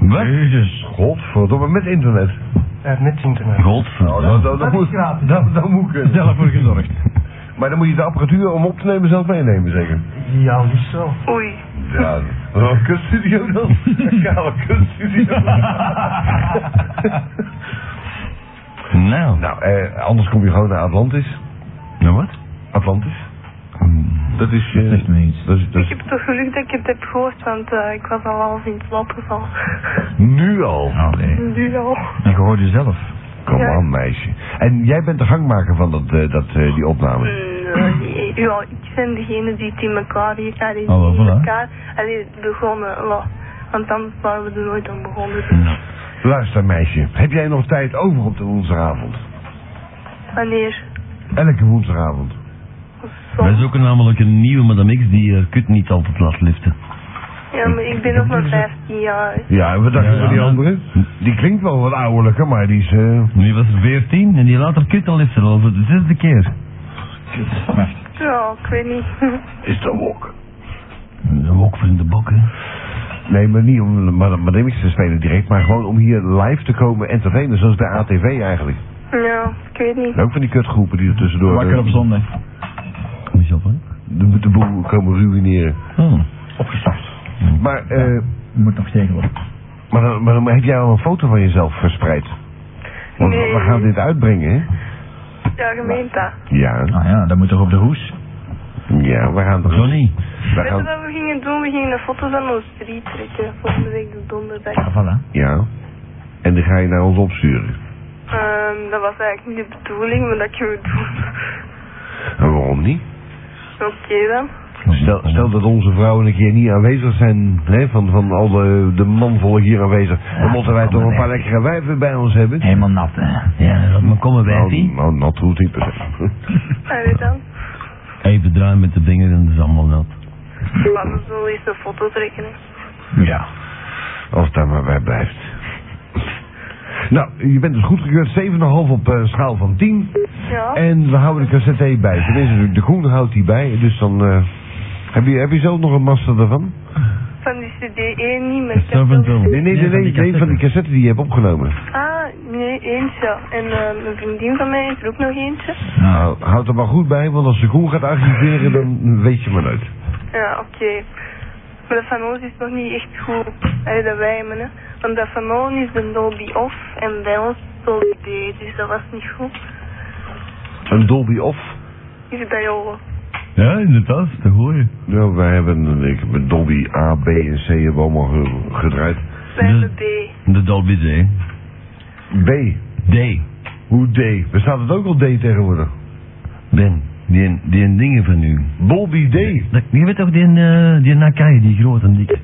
[SPEAKER 2] Wat?
[SPEAKER 1] Godverdomme, met internet.
[SPEAKER 7] Eh, met internet.
[SPEAKER 1] Nou, dat, dat, dat
[SPEAKER 7] Dat is
[SPEAKER 1] moet,
[SPEAKER 7] gratis.
[SPEAKER 1] dat, dat moet kunnen.
[SPEAKER 2] <laughs> Zelf voor gezorgd.
[SPEAKER 1] Maar dan moet je de apparatuur om op te nemen zelf meenemen, zeker?
[SPEAKER 7] Ja, liefst wel.
[SPEAKER 6] Oei.
[SPEAKER 1] Ja, een kutstudio dan?
[SPEAKER 2] <laughs>
[SPEAKER 1] Een kale kutstudio.
[SPEAKER 2] Nou.
[SPEAKER 1] nou, eh, anders kom je gewoon naar Atlantis.
[SPEAKER 2] Nou wat?
[SPEAKER 1] Atlantis. Dus- Dat is...
[SPEAKER 5] Dat
[SPEAKER 2] eh,
[SPEAKER 5] zegt me iets.
[SPEAKER 1] dat is, dat
[SPEAKER 6] Ik
[SPEAKER 1] is
[SPEAKER 6] heb toch geluk dat ik het heb gehoord, want eh, ik was al half in slaap gevallen. <laughs>
[SPEAKER 1] nu al.
[SPEAKER 2] Oh,
[SPEAKER 5] Allee.
[SPEAKER 6] Nu al.
[SPEAKER 5] En je hoort jezelf.
[SPEAKER 1] Kom
[SPEAKER 6] Ja.
[SPEAKER 1] aan, meisje. En jij bent de gangmaker van dat, eh, dat, eh, die opname.
[SPEAKER 6] Mm, eh, Ja, ik ben degene die het in elkaar hier allee,
[SPEAKER 1] Ah,
[SPEAKER 6] die
[SPEAKER 5] Hallo,
[SPEAKER 6] in
[SPEAKER 5] voilà.
[SPEAKER 6] elkaar allee, begonnen. la. Want anders waren we er nooit aan begonnen.
[SPEAKER 1] Luister, meisje. Heb jij nog tijd over op de woensdagavond?
[SPEAKER 6] Wanneer?
[SPEAKER 1] Elke woensdagavond.
[SPEAKER 2] Wij zoeken namelijk een nieuwe Madame X die eh, kut niet altijd laat liften.
[SPEAKER 6] Ja, maar ik ben nog maar 15 jaar.
[SPEAKER 1] Ja, en wat dacht
[SPEAKER 2] Ja,
[SPEAKER 1] je van
[SPEAKER 2] ja.
[SPEAKER 1] die andere? Die klinkt wel wat ouderlijker, maar die is... eh,
[SPEAKER 2] Nu was er 14 en die laat haar kut al liften, al voor de zesde keer.
[SPEAKER 6] Ja, ik weet niet. <laughs>
[SPEAKER 1] is de wok.
[SPEAKER 2] Een wok voor in de bokken.
[SPEAKER 1] Nee, maar niet om Mademics te spelen direct, maar gewoon om hier live te komen entertainen, zoals bij ATV eigenlijk.
[SPEAKER 6] ja, ik weet niet.
[SPEAKER 1] En ook van die kutgroepen die er tussendoor
[SPEAKER 5] Wakker op
[SPEAKER 1] eh,
[SPEAKER 5] zondag.
[SPEAKER 2] Moet je op, hè?
[SPEAKER 1] de, de boel komen ruïneren.
[SPEAKER 2] Oh.
[SPEAKER 5] Opgestart.
[SPEAKER 2] Hm.
[SPEAKER 1] Maar, eh,
[SPEAKER 5] Moet nog tegen worden.
[SPEAKER 1] maar, dan, maar dan heb jij al een foto van jezelf verspreid. Want
[SPEAKER 6] Nee.
[SPEAKER 1] we gaan dit uitbrengen, hè?
[SPEAKER 6] Ja, je meent dat.
[SPEAKER 1] Ja,
[SPEAKER 5] Ah ja, dat moet toch op de hoes.
[SPEAKER 1] ja, we gaan er...
[SPEAKER 2] Johnny.
[SPEAKER 1] We
[SPEAKER 6] Weet je
[SPEAKER 1] gaan,
[SPEAKER 6] wat we gingen doen? We gingen een foto van ons drie trekken. Volgende week de donderdag.
[SPEAKER 5] Ja, voilà.
[SPEAKER 1] ja. En die ga je naar ons opsturen.
[SPEAKER 6] Ehm, dat was eigenlijk niet de bedoeling, maar dat kunnen we doen. <laughs>
[SPEAKER 1] En waarom niet?
[SPEAKER 6] Oké dan.
[SPEAKER 1] Stel, stel dat onze vrouwen een keer niet aanwezig zijn, hè, van, van al de, de manvolk hier aanwezig. Dan moeten wij toch een paar lekkere wijven bij ons hebben.
[SPEAKER 5] Helemaal nat, hè. Ja, dat
[SPEAKER 2] Maar komen wij
[SPEAKER 1] Nou,
[SPEAKER 2] die?
[SPEAKER 1] nou, nat hoeft niet per se.
[SPEAKER 6] Allee dan.
[SPEAKER 2] Even draaien met de vinger en dat is allemaal nat.
[SPEAKER 6] Laten we zo eens een foto trekken. hè.
[SPEAKER 5] Ja.
[SPEAKER 1] Als het daar maar bij blijft. Nou, je bent dus goedgekeurd. 7,5 op eh, schaal van 10.
[SPEAKER 6] zo.
[SPEAKER 1] En we houden de cassette bij. Tenminste, de groen houdt die bij. Dus dan... eh, heb, je, heb je zelf nog een master ervan?
[SPEAKER 6] Van die CD één niet, maar ik heb
[SPEAKER 2] Servant
[SPEAKER 6] wel-
[SPEAKER 2] Home.
[SPEAKER 1] Oh. Nee, nee, nee,
[SPEAKER 5] Nee, van
[SPEAKER 1] nee,
[SPEAKER 5] die
[SPEAKER 1] nee, van die cassette die je hebt opgenomen.
[SPEAKER 6] Ah, nee, eentje. En eh, een vriendin van mij heeft er ook nog eentje.
[SPEAKER 1] Nou, houd er maar goed bij, want als de groen gaat archiveren, dan weet je maar nooit.
[SPEAKER 6] Ja, oké. Maar dat van ons is nog niet echt goed. Allee, dat wij hebben, hè. Want dat van ons is de Dolby off en bij ons Dolby D, dus dat was niet goed.
[SPEAKER 1] Een Dolby Off?
[SPEAKER 6] Is het bij jou?
[SPEAKER 2] Ja, inderdaad, dat hoor je.
[SPEAKER 1] Nou, wij hebben, ik heb een Dolby A, B en C hebben we allemaal ge- gedraaid.
[SPEAKER 6] Wij
[SPEAKER 2] Dus-
[SPEAKER 6] hebben B.
[SPEAKER 2] De Dolby D.
[SPEAKER 1] B,
[SPEAKER 2] D.
[SPEAKER 1] hoe D? Bestaat het ook al D tegenwoordig?
[SPEAKER 2] Ben, die, een- die een dingen van u.
[SPEAKER 1] Dolby D,
[SPEAKER 2] Dat- Je weet toch die, een, eh, die Nakai, die groot en dik?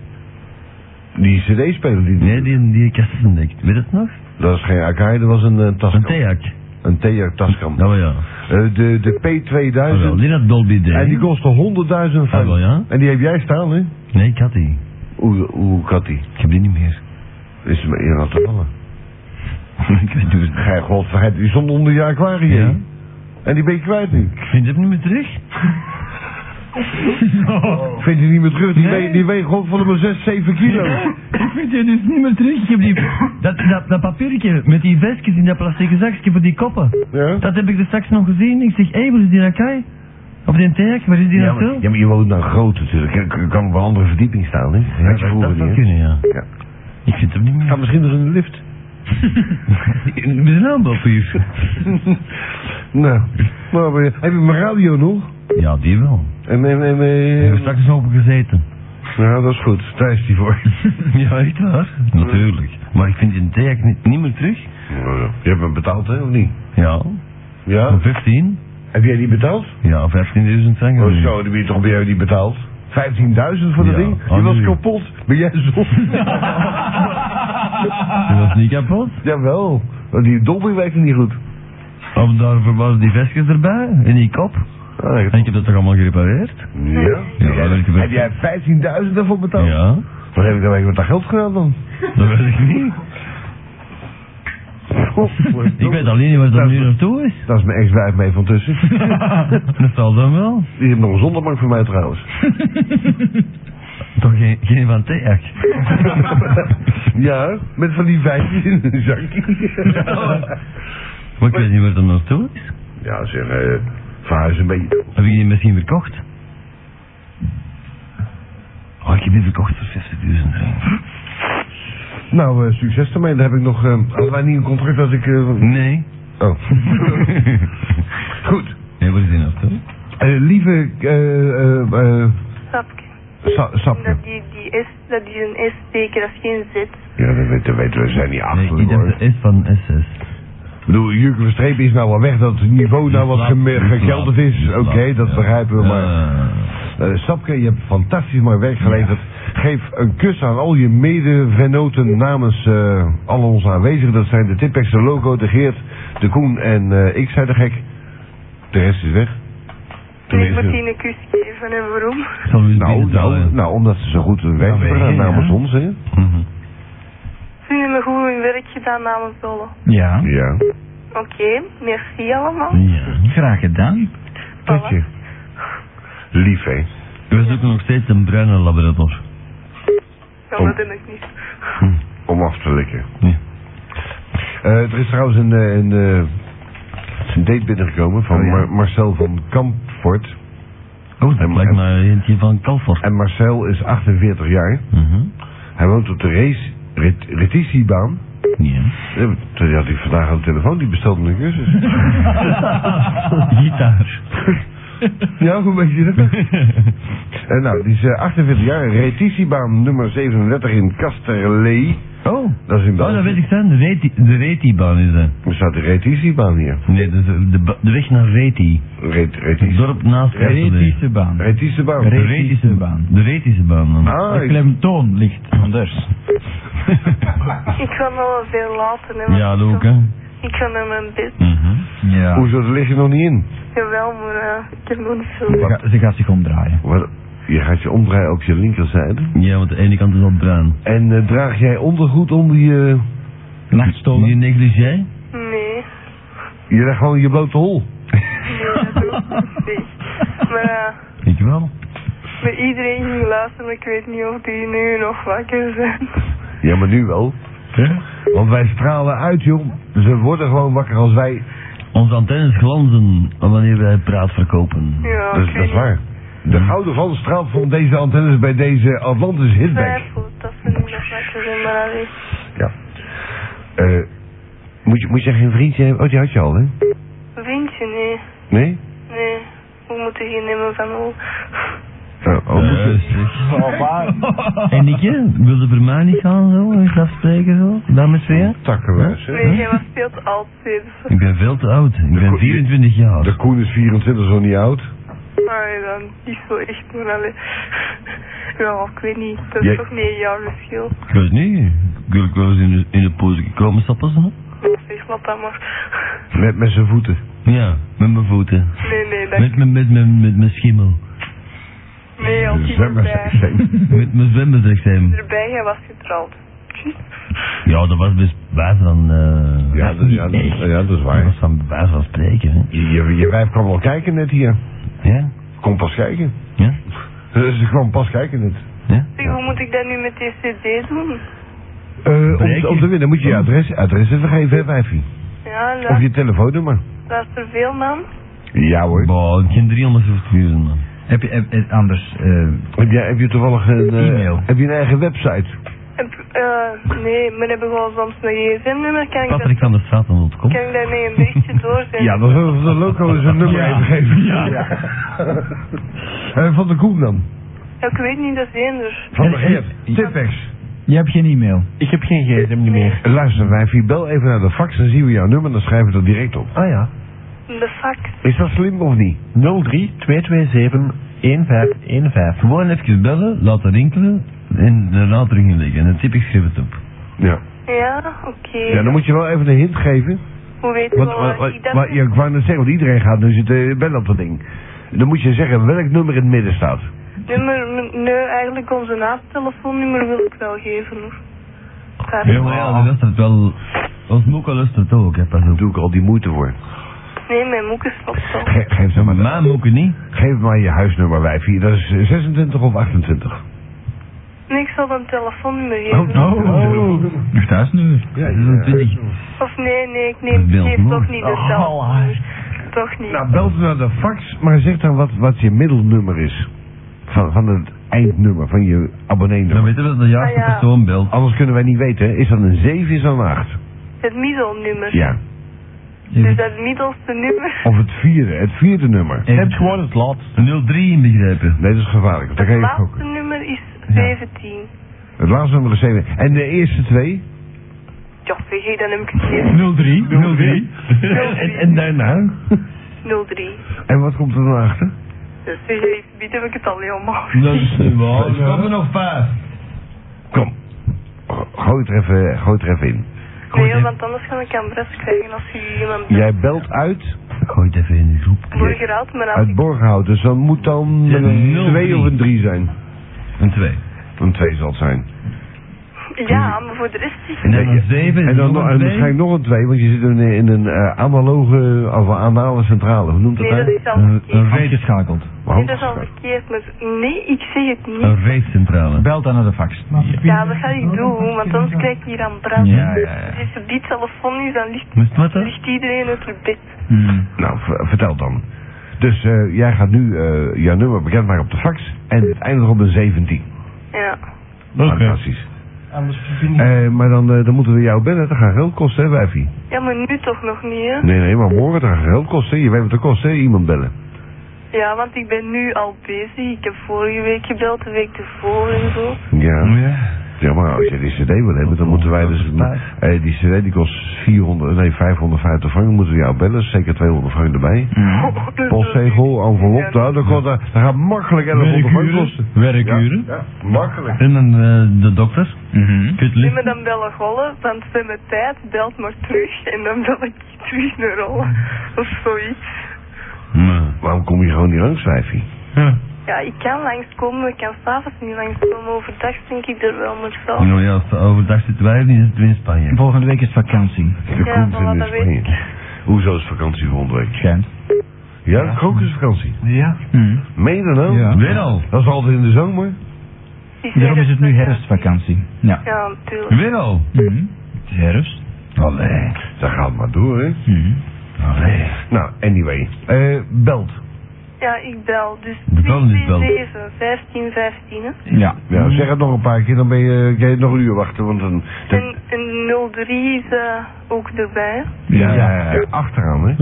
[SPEAKER 1] die CD-speler die.
[SPEAKER 2] Nee, die, die kassendik. Weet je het nog?
[SPEAKER 1] Dat is geen Akai, dat was een eh,
[SPEAKER 2] Een
[SPEAKER 1] Tascam.
[SPEAKER 2] Theak.
[SPEAKER 1] Een Theak Tascam.
[SPEAKER 2] Nou ja.
[SPEAKER 1] Eh, de, de
[SPEAKER 2] Ah, wel,
[SPEAKER 1] P2000.
[SPEAKER 2] die had Dolby D.
[SPEAKER 1] En die kostte 100.000
[SPEAKER 2] Ah, wel,
[SPEAKER 1] frank.
[SPEAKER 2] ja.
[SPEAKER 1] En die heb jij staan, hè?
[SPEAKER 2] Nee, ik had die.
[SPEAKER 1] Hoe, hoe had die?
[SPEAKER 2] Ik heb die niet meer.
[SPEAKER 1] Is hem in had te vallen.
[SPEAKER 2] <laughs> ik weet niet. hoe-
[SPEAKER 1] Gij god, vergeet, die stond onder je aquarium.
[SPEAKER 2] Ja.
[SPEAKER 1] En die ben je kwijt nu.
[SPEAKER 2] Ik vind het niet meer terug.
[SPEAKER 1] Ik Vind je niet meer terug? Die,
[SPEAKER 2] Nee.
[SPEAKER 1] weegt die weegt god van de maar 6, 7 kilo.
[SPEAKER 2] Ik vind die dus niet meer terug. Ik heb die, dat, dat, dat papiertje met die vestjes in dat plastic zakje voor die koppen.
[SPEAKER 1] Ja?
[SPEAKER 2] Dat heb ik er straks nog gezien. Ik zeg, hé, hey, waar is die Nakai? Op die Theak, waar is die
[SPEAKER 1] Ja
[SPEAKER 2] naartoe?
[SPEAKER 1] maar, ja, maar je woont nou groot natuurlijk. Ik- Ik kan op een andere verdieping staan, hè?
[SPEAKER 2] Ja,
[SPEAKER 1] Had je
[SPEAKER 2] dat-
[SPEAKER 1] vroeger
[SPEAKER 2] dat zou
[SPEAKER 1] niet, hè?
[SPEAKER 2] kunnen, ja.
[SPEAKER 1] Ja.
[SPEAKER 2] Ik vind hem niet meer.
[SPEAKER 1] Ga misschien nog in de lift.
[SPEAKER 2] Met een aanbod voor je.
[SPEAKER 1] nou, maar, eh, heb je mijn radio nog?
[SPEAKER 2] Ja, die wel.
[SPEAKER 1] En, en, en,
[SPEAKER 2] Ik heb
[SPEAKER 1] eh,
[SPEAKER 2] er straks eens open gezeten.
[SPEAKER 1] Nou, dat is goed. Daar is die voor.
[SPEAKER 2] <laughs> ja, echt waar? Natuurlijk. Maar ik vind die Theak niet, niet meer terug.
[SPEAKER 1] Nou ja. Je hebt hem betaald, hè, of niet?
[SPEAKER 2] Ja,
[SPEAKER 1] Ja?
[SPEAKER 2] voor 15.
[SPEAKER 1] Heb jij die betaald?
[SPEAKER 2] Ja, 15.000 frank.
[SPEAKER 1] Oh, zo, die ben je toch bij jou niet betaald? 15.000 voor dat
[SPEAKER 2] Ja.
[SPEAKER 1] ding? Die
[SPEAKER 2] Oh,
[SPEAKER 1] was
[SPEAKER 2] nu.
[SPEAKER 1] kapot. Ben jij
[SPEAKER 2] <laughs>
[SPEAKER 1] zo?
[SPEAKER 2] Dat was niet kapot.
[SPEAKER 1] Jawel. Want Die Dolby werkte niet goed.
[SPEAKER 2] Of daarvoor waren die vestjes erbij en die kop.
[SPEAKER 1] Ah, ik-
[SPEAKER 2] En ik heb dat toch allemaal gerepareerd?
[SPEAKER 1] Ja?
[SPEAKER 2] Ja, dat werkte
[SPEAKER 1] Heb
[SPEAKER 2] best.
[SPEAKER 1] jij 15.000 ervoor betaald?
[SPEAKER 2] Ja,
[SPEAKER 1] Wat heb ik dan eigenlijk met dat geld gedaan dan?
[SPEAKER 2] dat weet ik niet. Ik weet alleen niet waar dat
[SPEAKER 1] Dat
[SPEAKER 2] nu
[SPEAKER 1] is-
[SPEAKER 2] naartoe is.
[SPEAKER 1] Dat is mijn ex-wijf mee van tussen.
[SPEAKER 2] Dat zal dan wel.
[SPEAKER 1] Die heeft nog een zonderbank voor mij
[SPEAKER 2] <laughs>
[SPEAKER 1] trouwens.
[SPEAKER 2] Toch geen, geen van Theak.
[SPEAKER 1] ja, met van die vijfjes in hun zak.
[SPEAKER 2] <laughs>
[SPEAKER 1] <laughs>
[SPEAKER 2] Maar ik weet niet waar dat naartoe is.
[SPEAKER 1] ja, zeg, eh, verhuis een beetje.
[SPEAKER 2] Heb ik die misschien verkocht? Oh, ik heb die verkocht voor 60.000 frank.
[SPEAKER 1] Nou, eh, succes ermee. Dan heb ik nog, eh, hadden wij niet een contract als ik... eh,
[SPEAKER 2] Nee.
[SPEAKER 1] oh. <laughs> Goed.
[SPEAKER 2] Nee, waar is die naartoe?
[SPEAKER 1] Eh, lieve, eh, eh, eh,
[SPEAKER 6] Sapke.
[SPEAKER 1] sa- sapje.
[SPEAKER 6] Dat die, die S, dat die een S teken, dat is geen Z.
[SPEAKER 1] Ja, dat weten, weten we, zijn niet
[SPEAKER 2] Nee,
[SPEAKER 1] achterlijk
[SPEAKER 2] ik heb
[SPEAKER 1] hoor.
[SPEAKER 2] de S van SS.
[SPEAKER 1] Ik bedoel, Jurgen van Streep is nou wel weg, dat het niveau nou wat geme- gekelderd is. Oké, dat begrijpen we, maar... Eh, Sapke, je hebt fantastisch mooi werk geleverd. Geef een kus aan al je medevenoten namens eh al onze aanwezigen. Dat zijn de Tipex, de Logo, de Geert, de Koen en eh, ik, zei de gek. De rest is weg.
[SPEAKER 6] En ik moet
[SPEAKER 1] Tenminste-
[SPEAKER 6] die een kus geven en waarom?
[SPEAKER 2] Eh, Ik
[SPEAKER 6] <laughs>
[SPEAKER 2] zal u eens
[SPEAKER 1] Nou, nou,
[SPEAKER 2] binnendalen.
[SPEAKER 1] nou, omdat ze zo goed hun werk hebben gedaan namens ons, hè?
[SPEAKER 2] Mhm.
[SPEAKER 6] Ze hebben goed hun werk gedaan namens Dolle.
[SPEAKER 5] Ja,
[SPEAKER 1] Ja.
[SPEAKER 6] Oké, merci allemaal.
[SPEAKER 2] Ja.
[SPEAKER 5] graag gedaan.
[SPEAKER 1] Tot je. Lief, hè?
[SPEAKER 2] We zoeken nog steeds een bruine labrador.
[SPEAKER 6] Ja, maar dat ben ik niet.
[SPEAKER 1] Om af te likken.
[SPEAKER 2] Ja.
[SPEAKER 1] Eh, er is trouwens een, eh, een, eh, een date binnengekomen van Mar- Marcel van Kampvoort.
[SPEAKER 2] Oh, dat
[SPEAKER 1] En-
[SPEAKER 2] lijkt
[SPEAKER 1] en-
[SPEAKER 2] me eentje van Calfort.
[SPEAKER 1] En Marcel is 48 jaar.
[SPEAKER 2] Mhm.
[SPEAKER 1] Hij woont op de race, ret, retitiebaan.
[SPEAKER 2] Ja.
[SPEAKER 1] Eh, Toen had ik vandaag aan de telefoon, die bestelde een cursus.
[SPEAKER 2] Gitaar.
[SPEAKER 1] <laughs> ja, hoe weet je dat? <laughs> en nou, die is eh, 48 jaar, retitiebaan nummer 37 in Kasterlee.
[SPEAKER 2] Oh.
[SPEAKER 1] <laughs> Dat is in
[SPEAKER 2] Oh,
[SPEAKER 1] België.
[SPEAKER 2] dat weet ik zijn. De Reti, de Reti-baan is dat.
[SPEAKER 1] Er staat de retitiebaan hier.
[SPEAKER 2] Nee, dat is de, de, ba- de weg naar Reti.
[SPEAKER 1] Ret,
[SPEAKER 2] Het
[SPEAKER 1] retis,
[SPEAKER 2] dorp naast Reti.
[SPEAKER 5] Retische baan.
[SPEAKER 1] retitiebaan.
[SPEAKER 5] Re-
[SPEAKER 2] Retische baan. De Retische baan dan.
[SPEAKER 1] ah,
[SPEAKER 5] De
[SPEAKER 1] ik-
[SPEAKER 5] klemtoon ligt anders.
[SPEAKER 6] Ik kan nog wel veel laten. Hè, want
[SPEAKER 2] Ja,
[SPEAKER 6] ik
[SPEAKER 2] dat ook,
[SPEAKER 6] kan-
[SPEAKER 2] hè.
[SPEAKER 6] Ik kan naar mijn bed.
[SPEAKER 2] Mhm.
[SPEAKER 5] Ja.
[SPEAKER 1] Hoezo, daar lig je nog niet in?
[SPEAKER 6] Jawel, maar eh, ik heb nog niet
[SPEAKER 5] Ze,
[SPEAKER 6] veel.
[SPEAKER 5] ga- ze gaat zich omdraaien.
[SPEAKER 1] Wat? Je gaat je omdraaien op je linkerzijde.
[SPEAKER 2] Ja, want de ene kant is al bruin.
[SPEAKER 1] En eh, draag jij ondergoed onder je...
[SPEAKER 5] Nachtstolen.
[SPEAKER 2] Die negligé?
[SPEAKER 6] Nee.
[SPEAKER 1] Je legt gewoon je blote hol.
[SPEAKER 6] Nee. Maar ja,
[SPEAKER 2] Ik wel.
[SPEAKER 6] bij iedereen ging luisteren, maar ik weet niet of die nu nog wakker zijn.
[SPEAKER 1] Ja, maar nu wel. Want wij stralen uit, joh. Ze worden gewoon wakker als wij.
[SPEAKER 2] Onze antennes glanzen wanneer wij praat verkopen. Hm.
[SPEAKER 6] Ja,
[SPEAKER 1] Dat, is-
[SPEAKER 6] ik
[SPEAKER 1] dat
[SPEAKER 6] weet
[SPEAKER 1] is waar. De gouden van straalt van deze antennes bij deze Atlantis
[SPEAKER 6] niet.
[SPEAKER 1] Hitback.
[SPEAKER 6] twijfel dat ze nu nog wakker zijn, maar allee.
[SPEAKER 1] Eh, moet, je, moet je geen vriendje hebben? Oh, die had je al, hè?
[SPEAKER 6] Vriendje, nee.
[SPEAKER 1] Nee?
[SPEAKER 6] Nee. We moeten geen nemen van hoe.
[SPEAKER 1] Oh, oh, moet je-
[SPEAKER 8] Oh, waar?
[SPEAKER 2] <laughs> En Nikke, wilde voor mij niet gaan zo, eens afspreken zo, dames weer?
[SPEAKER 1] Takkenwijs, hè?
[SPEAKER 6] Nee, jij was veel te oud, Sid.
[SPEAKER 2] Ik ben veel te oud, ik ben
[SPEAKER 1] ko-
[SPEAKER 2] 24 jaar.
[SPEAKER 1] De Koen is 24, zo niet oud.
[SPEAKER 6] Maar dan niet zo echt, maar allee. Ja, ik weet niet. Dat is
[SPEAKER 1] Jij-
[SPEAKER 6] toch negen jaar verschil.
[SPEAKER 2] Ik weet niet, ik wil ook wel eens in de, in de pose gekomen stappen zo.
[SPEAKER 6] Zeg maar dat maar.
[SPEAKER 1] Met, met zijn voeten.
[SPEAKER 2] Ja, met mijn voeten.
[SPEAKER 6] Nee, nee, dat...
[SPEAKER 2] Met mijn met, mijn met mijn schimmel.
[SPEAKER 6] Nee, als je
[SPEAKER 1] Zwemmen,
[SPEAKER 6] erbij,
[SPEAKER 1] zijn-
[SPEAKER 2] Met mijn zwembadrechtsem.
[SPEAKER 6] erbij jij was getrouwd.
[SPEAKER 2] Ja, dat was best wijs van... eh
[SPEAKER 1] Ja, dat, ja, dat, ja, dat is
[SPEAKER 2] Dat
[SPEAKER 1] waar.
[SPEAKER 2] was van wijs van spreken, hè.
[SPEAKER 1] Je, je, je wijf kwam wel kijken net hier.
[SPEAKER 2] Ja?
[SPEAKER 1] Kom pas kijken.
[SPEAKER 2] Ja?
[SPEAKER 1] Eh, Ze kwam pas kijken net.
[SPEAKER 6] Zeg, hoe moet ik dat nu met die cd doen?
[SPEAKER 1] Eh om,
[SPEAKER 2] Breken.
[SPEAKER 1] te- om te winnen moet
[SPEAKER 2] Oh.
[SPEAKER 1] je je adres, adres even geven, hè, wijfie.
[SPEAKER 6] Ja,
[SPEAKER 1] Of
[SPEAKER 6] lu-
[SPEAKER 1] je telefoonnummer.
[SPEAKER 6] luister veel, man.
[SPEAKER 1] Ja hoor.
[SPEAKER 2] Boah, ik geen 350.000 man.
[SPEAKER 9] Heb je, heb, eh, anders, eh,
[SPEAKER 1] Heb, jij, heb je toevallig een... eh,
[SPEAKER 9] E-mail.
[SPEAKER 1] heb je een eigen website?
[SPEAKER 6] Heb, eh, nee, maar hebben gewoon soms een gsm-nummer. Kan, ik dat-
[SPEAKER 2] Patrick van der Straten.com.
[SPEAKER 6] kan ik daar mee een berichtje doorzetten?
[SPEAKER 1] Ja, dan zullen we de loco zijn nummer even geven. Ja. <laughs> Eh, van de Koen dan?
[SPEAKER 6] Ja, ik weet niet, dat is dus eender.
[SPEAKER 1] Van de
[SPEAKER 9] Eh, eh,
[SPEAKER 1] Geert. Tipex.
[SPEAKER 9] je hebt geen e-mail.
[SPEAKER 8] Ik heb geen gsm niet meer.
[SPEAKER 1] Luister, wijfie, bel even naar de fax, dan zien we jouw nummer en dan schrijven we dat direct op.
[SPEAKER 2] Oh
[SPEAKER 8] Ah ja.
[SPEAKER 6] De fax.
[SPEAKER 1] Is dat slim of niet?
[SPEAKER 8] 03 227 1515.
[SPEAKER 2] Gewoon even bellen, laten rinkelen en de later in liggen. En dan tip ik schrijf het op.
[SPEAKER 1] Ja.
[SPEAKER 6] Ja, oké.
[SPEAKER 1] Ja, dan moet je wel even een hint geven.
[SPEAKER 6] Hoe weet je
[SPEAKER 1] Want,
[SPEAKER 6] wel
[SPEAKER 1] want-
[SPEAKER 6] waar
[SPEAKER 1] want-
[SPEAKER 6] Oh, ik dat
[SPEAKER 1] want- ja, ik wou net zeggen, want iedereen gaat nu zitten eh, bellen op dat ding. Dan moet je zeggen welk nummer in het midden staat.
[SPEAKER 6] nummer... Nee, eigenlijk onze naamtelefoonnummer wil ik wel geven, hoor. Daar-
[SPEAKER 2] Ja, maar
[SPEAKER 6] Oh.
[SPEAKER 2] ja, de rest het wel. Ons Moeka lust het ook, hè, pas
[SPEAKER 1] Daar
[SPEAKER 2] op.
[SPEAKER 1] doe ik al die moeite voor.
[SPEAKER 6] Nee, mijn moeke snapt wel.
[SPEAKER 1] Ge- geef, ze maar,
[SPEAKER 2] Mijn Moeka niet.
[SPEAKER 1] geef maar je huisnummer, wijfie. Dat is eh, 26 of 28.
[SPEAKER 6] Nee, ik zal een telefoonnummer geven.
[SPEAKER 2] nou.
[SPEAKER 9] Oh, nog thuis nu.
[SPEAKER 1] Ja,
[SPEAKER 6] Of nee, nee, ik neem,
[SPEAKER 2] Bel
[SPEAKER 6] geef
[SPEAKER 2] maar.
[SPEAKER 6] toch niet de telefoonnummer. Toch niet.
[SPEAKER 1] Nou, bel ze naar de fax, maar zeg dan wat, wat je middelnummer is. Van, van het eindnummer, van je abonneenummer.
[SPEAKER 2] Dan weten we dat de juiste
[SPEAKER 6] Ah, ja.
[SPEAKER 2] persoon belt.
[SPEAKER 1] Anders kunnen wij niet weten, hè. is dat een 7, is dat een 8?
[SPEAKER 6] Het middelnummer.
[SPEAKER 1] Ja.
[SPEAKER 6] Dus dat middelste nummer.
[SPEAKER 1] Of het vierde, het vierde nummer.
[SPEAKER 8] Heb gewoon het laatste.
[SPEAKER 2] 03 inbegrepen.
[SPEAKER 1] Nee, dat is gevaarlijk, want dan
[SPEAKER 6] het
[SPEAKER 1] kan je
[SPEAKER 6] laatste
[SPEAKER 1] gokken.
[SPEAKER 6] nummer is 17.
[SPEAKER 1] Het laatste nummer is 7. En de eerste twee?
[SPEAKER 6] Ja, zeg ik, dan heb ik het gegeven.
[SPEAKER 9] 03, 03.
[SPEAKER 1] <laughs> En, en daarna?
[SPEAKER 6] 03.
[SPEAKER 1] En wat komt er dan achter?
[SPEAKER 6] Dus zeg ik, dit heb ik het al helemaal.
[SPEAKER 2] Dat is niet
[SPEAKER 1] <laughs>
[SPEAKER 2] waar. Ik er nog vijf.
[SPEAKER 1] Kom. Go- Gooi het er even, gooi het er even in.
[SPEAKER 6] Nee, want anders ga ik een bres krijgen als je iemand belt.
[SPEAKER 1] Jij belt uit,
[SPEAKER 2] Gooi het even in de groep.
[SPEAKER 6] Morgen raad, maar als
[SPEAKER 1] uit
[SPEAKER 6] ik...
[SPEAKER 1] Borgenhout, dus dan moet dan
[SPEAKER 2] Ja,
[SPEAKER 1] een
[SPEAKER 2] nul
[SPEAKER 1] 2
[SPEAKER 2] drie.
[SPEAKER 1] of een 3 zijn.
[SPEAKER 2] Een 2.
[SPEAKER 1] Een 2 zal het zijn.
[SPEAKER 6] Ja, maar voor de rest is
[SPEAKER 2] En dan
[SPEAKER 1] Nee,
[SPEAKER 2] een 7.
[SPEAKER 1] En dan nog, en waarschijnlijk nog een 2, want je zit in, een- in een eh, analoge, of een anale centrale, hoe noemt dat
[SPEAKER 6] Nee, dat
[SPEAKER 1] nou?
[SPEAKER 6] is al verkeerd.
[SPEAKER 9] Uitgeschakeld.
[SPEAKER 6] Nee,
[SPEAKER 1] Waarom?
[SPEAKER 6] dat is dus al verkeerd, maar... Nee, ik zeg het niet.
[SPEAKER 2] Een reefcentrale.
[SPEAKER 9] Bel dan naar de fax.
[SPEAKER 6] Ja, dat ga ik doen, want anders krijg ik hier aan brand. Dus
[SPEAKER 9] Ja, ja, ja.
[SPEAKER 6] Als je die telefoon is, dan ligt,
[SPEAKER 2] Moest het wat dan?
[SPEAKER 6] ligt iedereen uit haar bed.
[SPEAKER 9] Hmm.
[SPEAKER 1] Nou, ver- vertel dan. Dus eh, jij gaat nu eh jouw nummer bekendmaken op de fax en het eindigt op een 17.
[SPEAKER 6] Ja.
[SPEAKER 1] Fantastisch.
[SPEAKER 7] Anders verbind ik
[SPEAKER 1] Eh, maar dan, eh, dan moeten we jou bellen, dat gaat geld kosten, hè, wijfie?
[SPEAKER 6] Ja, maar nu toch nog niet, hè?
[SPEAKER 1] Nee, nee, maar morgen dat gaat geld kosten. Je weet wat het kost, hè? Iemand bellen.
[SPEAKER 6] Ja, want ik ben nu al bezig. Ik heb vorige week gebeld, de week ervoor en zo.
[SPEAKER 1] Ja.
[SPEAKER 2] Oh, Ja. Oh,
[SPEAKER 1] Ja, maar als jij die cd wil hebben, dan moeten wij dus... eh, die cd die kost 400, nee, 550 frank, moeten we jou bellen. Zeker 200 frank erbij. <laughs> Postzegel, envelop, daar, dat, kost, dat, dat gaat makkelijk 1100 frank kosten.
[SPEAKER 9] Werkuren.
[SPEAKER 1] Ja, makkelijk.
[SPEAKER 2] En dan eh, de dokter.
[SPEAKER 9] Mhm.
[SPEAKER 6] Nee,
[SPEAKER 2] Kutli.
[SPEAKER 6] maar dan bellen gollen, want ze hebben tijd, belt maar terug. En dan bel ik terug naar rollen. Of zoiets.
[SPEAKER 1] Waarom kom je gewoon niet langs, wijfie?
[SPEAKER 6] Ja, ik kan langskomen, maar ik kan s'avonds niet langskomen. Overdag denk ik er wel maar zo.
[SPEAKER 2] Nou ja, als de overdag zitten wij niet, zitten we in Spanje.
[SPEAKER 9] Volgende week is vakantie.
[SPEAKER 1] De
[SPEAKER 6] Ja,
[SPEAKER 1] komt
[SPEAKER 6] voilà,
[SPEAKER 1] in
[SPEAKER 6] dat weet
[SPEAKER 1] Spanje. Hoezo is vakantie volgende week?
[SPEAKER 9] Schijnt.
[SPEAKER 1] Ja, krokusvakantie.
[SPEAKER 10] Ja.
[SPEAKER 2] Hmm.
[SPEAKER 1] Meen je dat nou?
[SPEAKER 2] Ja.
[SPEAKER 7] Weer al.
[SPEAKER 1] Dat is altijd in de zomer.
[SPEAKER 2] Daarom is het nu herfstvakantie. Ja.
[SPEAKER 6] Ja, natuurlijk.
[SPEAKER 7] Weer al.
[SPEAKER 2] Mhm. Het is herfst.
[SPEAKER 1] Allee. Dat gaat maar door, hè.
[SPEAKER 2] Mhm.
[SPEAKER 1] Allee. Nou, anyway. Eh, belt.
[SPEAKER 6] Ja, ik bel. Dus
[SPEAKER 7] De bel niet bel.
[SPEAKER 6] 227, 15, 15. hè.
[SPEAKER 2] Ja.
[SPEAKER 1] Ja, zeg het nog een paar keer, dan ben je, ga je nog een uur wachten, want dan... dan-
[SPEAKER 6] En, en 03 is eh, ook erbij. hè.
[SPEAKER 2] Ja. ja.
[SPEAKER 1] ja, achteraan, hè.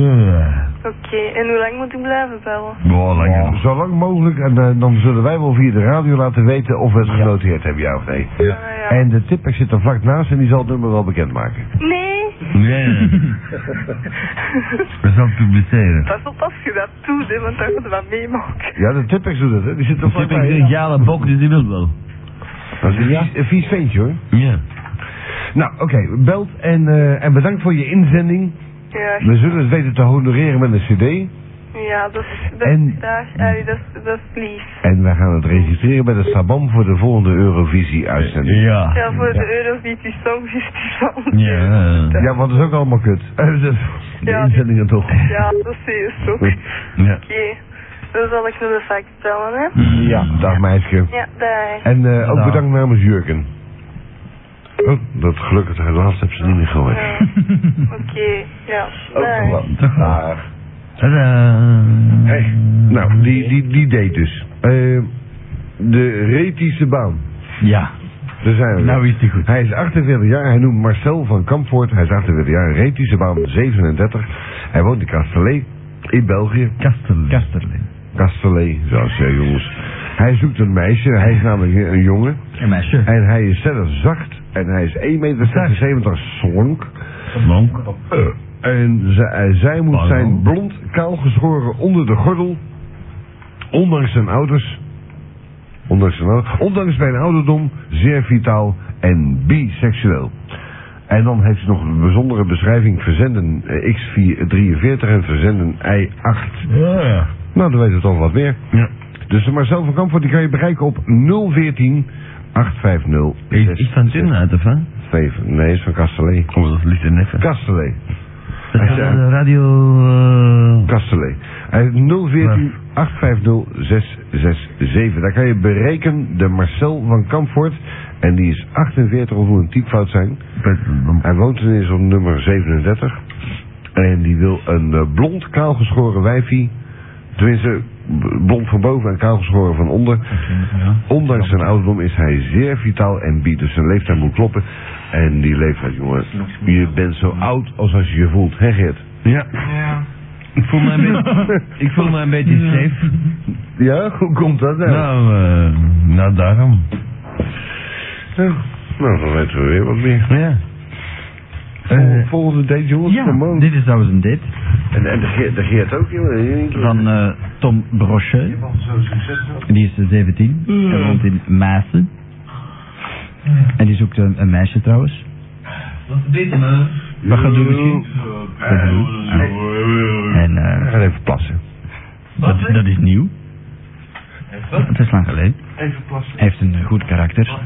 [SPEAKER 6] Oké, en hoe lang moet ik blijven bellen?
[SPEAKER 7] Wow, lekker.
[SPEAKER 1] Ja, Zo lang mogelijk, en eh, dan zullen wij wel via de radio laten weten of we het genoteerd hebben, ja of nee.
[SPEAKER 6] Ah, ja.
[SPEAKER 1] En de tipper zit er vlak naast en die zal het nummer wel bekendmaken.
[SPEAKER 6] Nee,
[SPEAKER 7] Nee. We zal publiceren.
[SPEAKER 6] pas op als je dat doet, hè, want dan gaat je wat meemaken.
[SPEAKER 1] Ja, de tipper doet het, hè. Die zit er
[SPEAKER 7] Ik
[SPEAKER 1] vlak
[SPEAKER 7] heb
[SPEAKER 1] bij.
[SPEAKER 7] een geniale bok, dus die wil wel.
[SPEAKER 1] Dat is een vies, een vies ventje, hoor.
[SPEAKER 7] Ja.
[SPEAKER 1] Nou, oké, belt en, eh, en bedankt voor je inzending.
[SPEAKER 6] Ja,
[SPEAKER 1] We zullen het weten te honoreren met een cd.
[SPEAKER 6] ja dat is dat,
[SPEAKER 1] En-
[SPEAKER 6] en... allee, dat, is- dat is lief.
[SPEAKER 1] En wij gaan het registreren bij de Sabam voor de volgende Eurovisie-uitzending.
[SPEAKER 7] Ja.
[SPEAKER 6] Ah, Ja, voor de Eurovisie Songfestival.
[SPEAKER 7] Ja.
[SPEAKER 1] Ja, want dat is ook allemaal kut. Eh, De, de
[SPEAKER 6] Ja.
[SPEAKER 1] inzendingen toch.
[SPEAKER 6] Ja, dat zie je zo. Oké,
[SPEAKER 7] Ja.
[SPEAKER 6] dan zal ik nog de fact bellen, hè.
[SPEAKER 1] Ja, dag meisje.
[SPEAKER 6] Ja, <laughs> daar.
[SPEAKER 1] En eh, ook
[SPEAKER 7] Dag.
[SPEAKER 1] bedankt namens Jurgen. Oh, dat gelukkig helaas heb ze niet meer gehoord.
[SPEAKER 6] Ja. Oké, ja. Dag.
[SPEAKER 1] Dag.
[SPEAKER 7] Tadaa.
[SPEAKER 1] Hey. Nou, die, die, die deed dus. Eh, de Retische baan.
[SPEAKER 2] Ja.
[SPEAKER 1] Daar zijn we.
[SPEAKER 2] Nou is die goed.
[SPEAKER 1] Hij is 48 jaar, hij noemt Marcel van Kampvoort. Hij is 48 jaar, Retische baan 37. Hij woont in Castellet, in België.
[SPEAKER 7] Kastel.
[SPEAKER 2] Kasterlin.
[SPEAKER 1] Castellet, zoals je jongens. Hij zoekt een meisje, hij is namelijk een jongen.
[SPEAKER 2] Een meisje.
[SPEAKER 1] En hij is zelf zacht. En hij is 1,76 meter slonk.
[SPEAKER 7] Monk.
[SPEAKER 1] Eh, en zij, zij moet
[SPEAKER 7] Pardon?
[SPEAKER 1] zijn blond, kaalgeschoren onder de gordel. Ondanks zijn ouders. Ondanks zijn, ouders- ondanks zijn ouderdom, zeer vitaal en biseksueel. En dan heeft ze nog een bijzondere beschrijving: verzenden eh, X43 en verzenden I8.
[SPEAKER 7] Ja.
[SPEAKER 1] Nou, dan weten we toch wat meer.
[SPEAKER 7] Ja.
[SPEAKER 1] Dus de Marcel van Kampvoort die kan je bereiken op 014 850
[SPEAKER 7] Ik, ik van Timna uit, of hè?
[SPEAKER 1] 7. Nee, is van Castellet.
[SPEAKER 7] Oh, dat ligt er net.
[SPEAKER 1] Castellet.
[SPEAKER 7] Dat is
[SPEAKER 1] Ja.
[SPEAKER 7] aan de radio... eh,
[SPEAKER 1] Kastelee. Hij heeft 014 850 667. Daar kan je berekenen de Marcel van Kampvoort. En die is 48 of hoe een typfout zijn. Hij woont in zo'n nummer 37. En die wil een eh, blond, kaalgeschoren wijfie. Tenminste, b- blond van boven en kaalgeschoren van onder. Ondanks zijn ouderdom is hij zeer vitaal en biedt. Dus zijn leeftijd moet kloppen. En die leeftijd, jongen. Je bent zo oud als als je je voelt, hè Geert?
[SPEAKER 7] Ja. Ik voel me een beetje, <laughs> ik voel me een beetje safe.
[SPEAKER 1] Ja, hoe komt dat
[SPEAKER 7] Nou, eh, nou daarom.
[SPEAKER 1] Ja, Nou, dan weten we weer wat meer.
[SPEAKER 7] Ja.
[SPEAKER 1] Vol- volgende date, jongens, come
[SPEAKER 2] Ja,
[SPEAKER 1] on.
[SPEAKER 2] dit is trouwens een date
[SPEAKER 1] Eh, En, en de, Geert, de Geert ook, jongen.
[SPEAKER 2] van eh, Tom Brochet. Die is eh, 17 en woont in Maassen. En die zoekt een, een meisje trouwens. Wat gaat doen misschien? En
[SPEAKER 1] We
[SPEAKER 2] eh,
[SPEAKER 1] gaan even plassen.
[SPEAKER 2] dat, dat is nieuw. Het is lang geleden.
[SPEAKER 10] Even plassen.
[SPEAKER 2] Hij heeft een eh, goed karakter.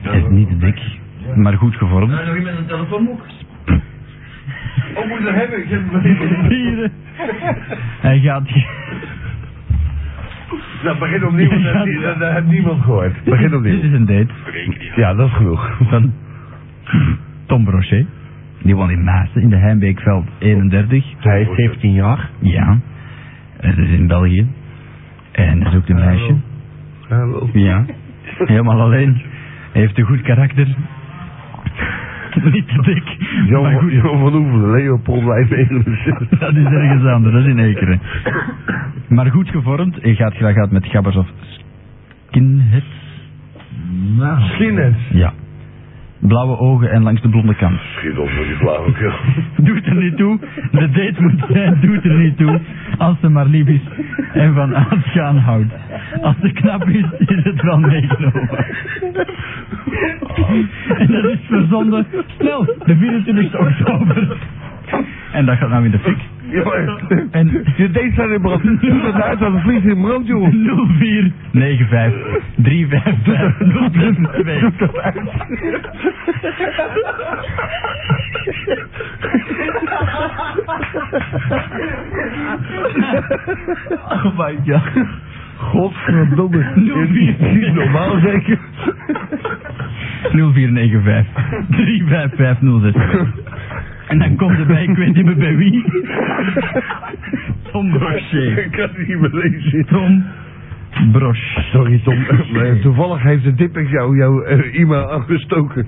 [SPEAKER 2] Hij is niet te dik, maar goed gevormd.
[SPEAKER 10] Nou,
[SPEAKER 7] nog iemand een telefoonboek?
[SPEAKER 10] Oh, moet je dat hebben? Ik heb hem
[SPEAKER 2] Hij gaat...
[SPEAKER 1] Nou, begin opnieuw, want dat, heeft- dat, dat heeft niemand gehoord. Begin
[SPEAKER 2] Dit
[SPEAKER 1] opnieuw.
[SPEAKER 2] is een date
[SPEAKER 1] Ja, dat is genoeg.
[SPEAKER 2] van Tom Brochet. Die woont in Maassen, in de Heimbeekveld 31.
[SPEAKER 1] Hij is 17 jaar.
[SPEAKER 2] Ja, het is in België. En dat is ook een meisje.
[SPEAKER 1] Hallo.
[SPEAKER 2] Ja, helemaal alleen. Hij heeft een goed karakter. <laughs> Niet te dik, maar
[SPEAKER 1] Jan,
[SPEAKER 2] goed.
[SPEAKER 1] Jan van Oeven, Leopold blijft 69.
[SPEAKER 2] <laughs> Dat is ergens anders, dat is in Ekeren. Maar goed gevormd, hij gaat graag uit met gabbers of skinheads.
[SPEAKER 1] Skinheads.
[SPEAKER 2] Ja. Blauwe ogen en langs de blonde kant.
[SPEAKER 1] Schiet op met die flauwekul.
[SPEAKER 2] Doet er niet toe. De date moet <laughs> zijn, doet er niet toe. Als ze maar lief is en van aangaan houdt. Als ze knap is, is het wel meegenomen. En dat is verzonden snel, de 24 oktober. En dat gaat nou in de fik. En
[SPEAKER 1] Je date staat in
[SPEAKER 2] <laughs>
[SPEAKER 1] brand. Doe dat uit, dan vliegt in brand, jongen.
[SPEAKER 2] 04 95
[SPEAKER 1] <laughs>
[SPEAKER 2] 355 022.
[SPEAKER 3] Oh my god.
[SPEAKER 1] <laughs>
[SPEAKER 3] Godverdomme. Is niet normaal zeker.
[SPEAKER 5] 0495 355062. En dan komt erbij, ik weet niet meer bij wie. Tom Brochet.
[SPEAKER 1] Ik kan het niet meer lezen.
[SPEAKER 5] Tom Brosch.
[SPEAKER 1] <laughs> Sorry Tom, maar toevallig heeft de Dippix jou, jouw eh, e-mail aangestoken.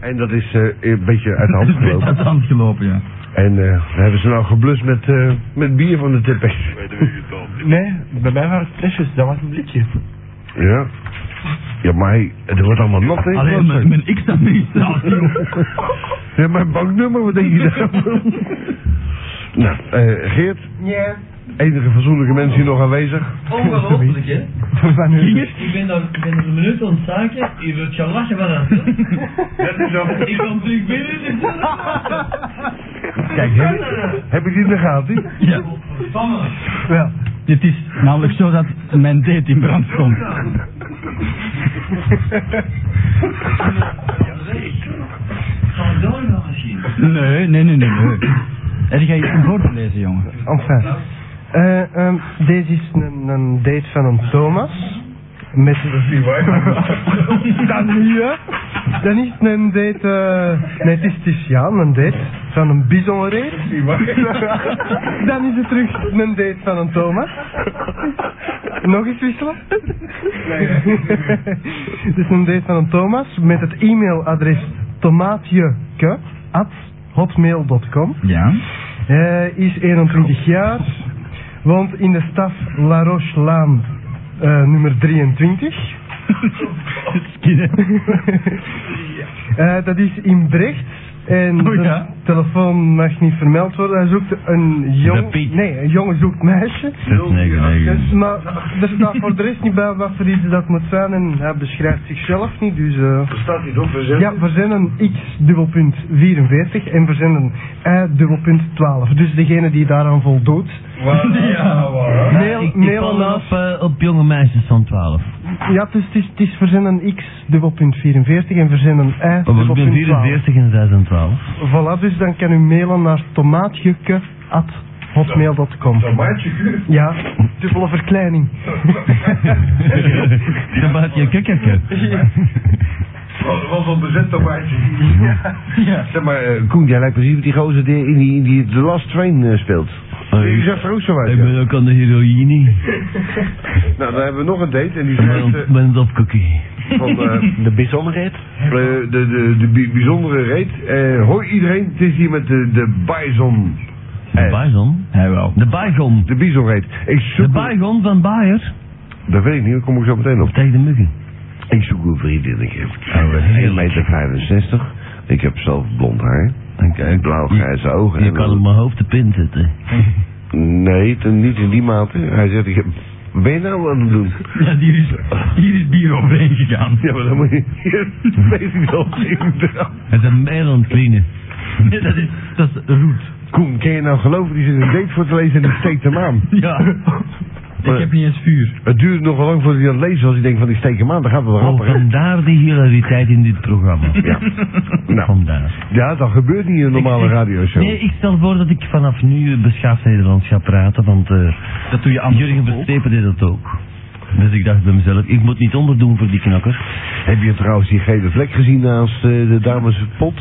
[SPEAKER 1] En dat is eh, een beetje uit de <laughs> hand
[SPEAKER 5] Uit
[SPEAKER 1] gelopen.
[SPEAKER 5] de hand gelopen, ja.
[SPEAKER 1] En eh, we hebben ze nou geblust met, eh, met bier van de Dippix.
[SPEAKER 4] Weet je wie het dan?
[SPEAKER 3] Nee, bij mij waren het flesjes, dat was een blikje.
[SPEAKER 1] Ja. Ja, maar hey, het wordt allemaal nat, hè?
[SPEAKER 5] Alleen mijn, mijn x-administratie.
[SPEAKER 1] Ja, mijn banknummer,
[SPEAKER 5] <laughs>
[SPEAKER 1] wat denk je daarvan? nou, eh, Geert,
[SPEAKER 10] Ja,
[SPEAKER 1] enige fatsoenlijke mens hier nog aanwezig.
[SPEAKER 10] ongelooflijk hè.
[SPEAKER 3] Van u.
[SPEAKER 10] Ik ben daar ik ben een minuut ontzaken, je wilt gaan lachen van aan. <laughs> Dat is zo. Ik kom terug binnen dus- en ik zeg,
[SPEAKER 1] Kijk, heb, heb ik die in de gaten?
[SPEAKER 5] Ja.
[SPEAKER 10] godverdamme.
[SPEAKER 5] Wel, het is namelijk zo dat mijn date in brand komt.
[SPEAKER 10] Ga door nou misschien.
[SPEAKER 5] Nee, nee, nee, nee. nee. Er ga je een woord lezen, jongen.
[SPEAKER 7] Enfin. Eh, ehm, deze is een, een date van een Thomas. Met... <laughs> Dan niet, hè? Dan is het een date... eh, nee, het is, het is ja, een date van een bisonreed. <laughs> Dan is het terug een date van een Thomas. Nog eens wisselen? <laughs> Het is een date van een Thomas met het e-mailadres tomaatjeke at hotmail.com.
[SPEAKER 5] Ja.
[SPEAKER 7] Hij Eh, is 21 jaar, woont in de staf La Roche-Laan, eh, nummer
[SPEAKER 5] <laughs>
[SPEAKER 7] 23. Eh, dat is in Brecht. En
[SPEAKER 5] Oh ja.
[SPEAKER 7] de telefoon mag niet vermeld worden. Hij zoekt een jong...
[SPEAKER 2] Piet.
[SPEAKER 7] Nee, een jongen zoekt meisje.
[SPEAKER 2] 699.
[SPEAKER 7] Dus, Maar er staat voor de rest niet bij wat voor iets dat moet zijn. En hij beschrijft zichzelf niet, dus... eh,
[SPEAKER 1] Staat hij toch verzet?
[SPEAKER 7] ja, verzenden x-44 en verzenden y-12. Dus degene die daaraan voldoet. <laughs> Mail,
[SPEAKER 2] Ik
[SPEAKER 7] mail
[SPEAKER 2] val
[SPEAKER 7] aan-
[SPEAKER 2] op, eh, op jonge meisjes van 12.
[SPEAKER 7] Ja, het is, het is, het is verzenden x-44 en verzenden
[SPEAKER 2] Oh, want ik ben
[SPEAKER 7] y-12.
[SPEAKER 2] 44 en 6 en 12.
[SPEAKER 7] Voilà, dus dan kan u mailen naar tomaatjukke.hotmail.com.
[SPEAKER 1] maatje
[SPEAKER 7] Ja, dubbele verkleining.
[SPEAKER 2] Dan maak je een kukkerke.
[SPEAKER 1] Was al bezet dat maatje
[SPEAKER 5] Ja.
[SPEAKER 1] Zeg maar, eh, Koen, jij lijkt precies op die gozer die, in die, die The Last Train eh, speelt. Die zag er ook zo uit.
[SPEAKER 2] Ik
[SPEAKER 1] ja.
[SPEAKER 2] ben ook aan de heroïne.
[SPEAKER 1] Nou, dan hebben we nog een date en die is
[SPEAKER 2] Ik ben
[SPEAKER 1] eh,
[SPEAKER 2] op- ben op cookie.
[SPEAKER 1] van eh,
[SPEAKER 2] De bijzonderheid?
[SPEAKER 1] eh, de, de, de bi- bijzondere reet. Eh, hoi iedereen, het is hier met de, de Bison.
[SPEAKER 2] De Bison?
[SPEAKER 5] Hij wel.
[SPEAKER 2] De Bison.
[SPEAKER 1] De Bison reet. Ik
[SPEAKER 2] De
[SPEAKER 1] zoek...
[SPEAKER 2] Bison van Bayer.
[SPEAKER 1] dat weet ik niet, daar kom ik zo meteen op.
[SPEAKER 2] Tegen de muggen.
[SPEAKER 1] Ik zoek een vriendin. Ik heb
[SPEAKER 2] heerlijk.
[SPEAKER 1] 1,65 meter. 65. Ik heb zelf blond haar.
[SPEAKER 2] Dan kijk.
[SPEAKER 1] Blauw-grijze ogen.
[SPEAKER 2] Je
[SPEAKER 1] en
[SPEAKER 2] kan op mijn hoofd de pin zetten.
[SPEAKER 1] Nee, ten- niet in die mate. Hij zegt, ik heb... ben je nou aan het doen?
[SPEAKER 5] Ja, hier is, hier is bier overheen gegaan.
[SPEAKER 1] <laughs> Ja, maar dan moet je... <laughs> Weet ik wel,
[SPEAKER 2] Het is een Meiland cleaner.
[SPEAKER 5] Nee, dat is, dat is roet.
[SPEAKER 1] Koen, kan je nou geloven, die zit een date voor te lezen en die steekt hem aan.
[SPEAKER 5] Ja. Ik heb niet eens vuur.
[SPEAKER 1] Het duurde nogal lang voordat hij aan het lezen was. Ik denk van, die steekt hem aan, dan gaat het wel
[SPEAKER 2] Oh,
[SPEAKER 1] rapper. hè?
[SPEAKER 2] vandaar die hilariteit in dit programma.
[SPEAKER 1] Ja. <laughs> Nou,
[SPEAKER 2] Vandaar.
[SPEAKER 1] ja, dat gebeurt niet in een <laughs> normale
[SPEAKER 2] Ik- ik-
[SPEAKER 1] radioshow.
[SPEAKER 2] Nee, ik stel voor dat ik vanaf nu eh, beschaafd Nederlands ga praten, want eh
[SPEAKER 5] Dat doe je anders
[SPEAKER 2] Jurgen
[SPEAKER 5] ook.
[SPEAKER 2] Verstepen deed dat ook. Dus ik dacht bij mezelf, ik moet niet onderdoen voor die knakker.
[SPEAKER 1] Heb je trouwens die gele vlek gezien naast eh, de dames pot?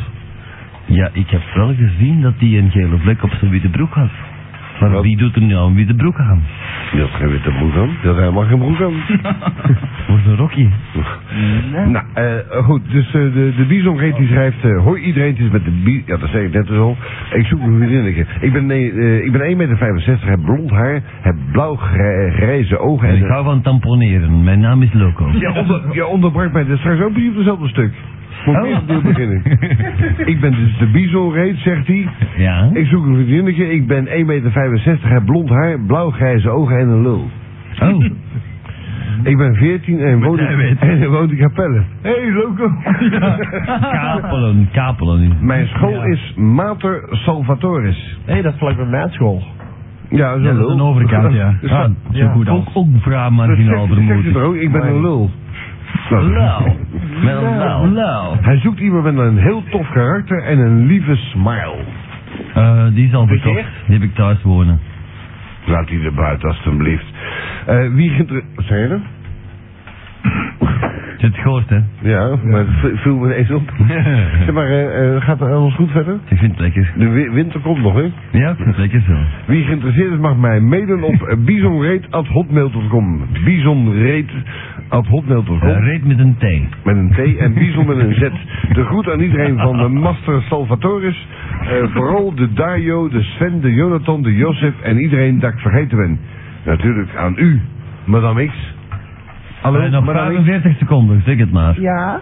[SPEAKER 2] Ja, ik heb wel gezien dat hij een gele vlek op zijn witte broek had. Maar
[SPEAKER 1] Wat?
[SPEAKER 2] wie doet er nou een witte broek aan?
[SPEAKER 1] Die had geen witte broek aan. Die had helemaal geen broek
[SPEAKER 2] <laughs>
[SPEAKER 1] aan.
[SPEAKER 2] Wordt een rokje.
[SPEAKER 1] Nou, eh, goed, dus eh, de, de Bison Reet die schrijft... eh, Hoi iedereen, het is met de Bison... Ja, dat zei ik net dus al. Ik zoek een vriendinnetje. Ik ben, nee, eh, ik ben 1,65 meter, heb blond haar, heb blauw-grijze ogen...
[SPEAKER 2] En
[SPEAKER 1] En
[SPEAKER 2] ik hou van tamponeren. Mijn naam is Loco.
[SPEAKER 1] je, onder, je onderbrak mij dus straks ook precies op dezelfde stuk. Moet ik
[SPEAKER 2] Oh.
[SPEAKER 1] eerst opnieuw
[SPEAKER 2] <laughs>
[SPEAKER 1] beginnen. ik ben dus de Bison Reet, zegt hij.
[SPEAKER 2] Ja?
[SPEAKER 1] Ik zoek een vriendinnetje, ik ben 1,65 meter, heb blond haar, blauw-grijze ogen en een lul.
[SPEAKER 2] Oh,
[SPEAKER 1] Ik ben 14 en woon,
[SPEAKER 5] jij
[SPEAKER 1] in-
[SPEAKER 5] weet.
[SPEAKER 1] <laughs> en woon in Capelle. Hé, hey, loco.
[SPEAKER 2] kapelen, kapelen.
[SPEAKER 1] Mijn school is Mater Salvatoris.
[SPEAKER 3] Hé, dat is vlakbij mijn school.
[SPEAKER 1] Ja, zo'n
[SPEAKER 5] Ja, dat
[SPEAKER 1] lul.
[SPEAKER 5] is een overkant,
[SPEAKER 1] <laughs>
[SPEAKER 5] ja.
[SPEAKER 1] Dus
[SPEAKER 5] Ah,
[SPEAKER 1] dat- Dus
[SPEAKER 5] zo goed als.
[SPEAKER 2] Ook, ook braaf
[SPEAKER 1] dat zegt-
[SPEAKER 2] marginaal
[SPEAKER 1] zegt hij er
[SPEAKER 2] vermoed.
[SPEAKER 1] ook, ik ben een lul. Nou,
[SPEAKER 2] Lauw. Met een lauw. Lauw.
[SPEAKER 1] <laughs> Hij zoekt iemand met een heel tof karakter en een lieve smile.
[SPEAKER 2] Eh, die is al bekocht. Die heb ik thuis wonen.
[SPEAKER 1] Laat die er buiten, alstublieft. Eh, wie geïnteresseerd... Zijn je nou? er?
[SPEAKER 2] Je hebt het gehoord, hè?
[SPEAKER 1] Ja, maar het v- viel me ineens
[SPEAKER 5] <laughs>
[SPEAKER 1] op. Zeg maar, eh, eh, gaat het alles goed verder?
[SPEAKER 2] Ik vind het lekker.
[SPEAKER 1] De wi- winter komt nog, hè?
[SPEAKER 2] Ja, ik vind het lekker zo.
[SPEAKER 1] Wie geïnteresseerd is mag mij mailen op <laughs> eh, bisonreet.hotmail.com. Bisonreet.hotmail.com.
[SPEAKER 2] Eh, reed met een T.
[SPEAKER 1] met een T en Bison met een Z. De groet aan iedereen van <laughs> de Master Salvatoris. Eh, vooral de Dario, de Sven, de Jonathan, de Josef en iedereen dat ik vergeten ben. Natuurlijk aan u, Madame X. Hallo,
[SPEAKER 2] Eh, nog
[SPEAKER 1] Madame X.
[SPEAKER 2] 45 seconden, zeg het maar.
[SPEAKER 11] Ja.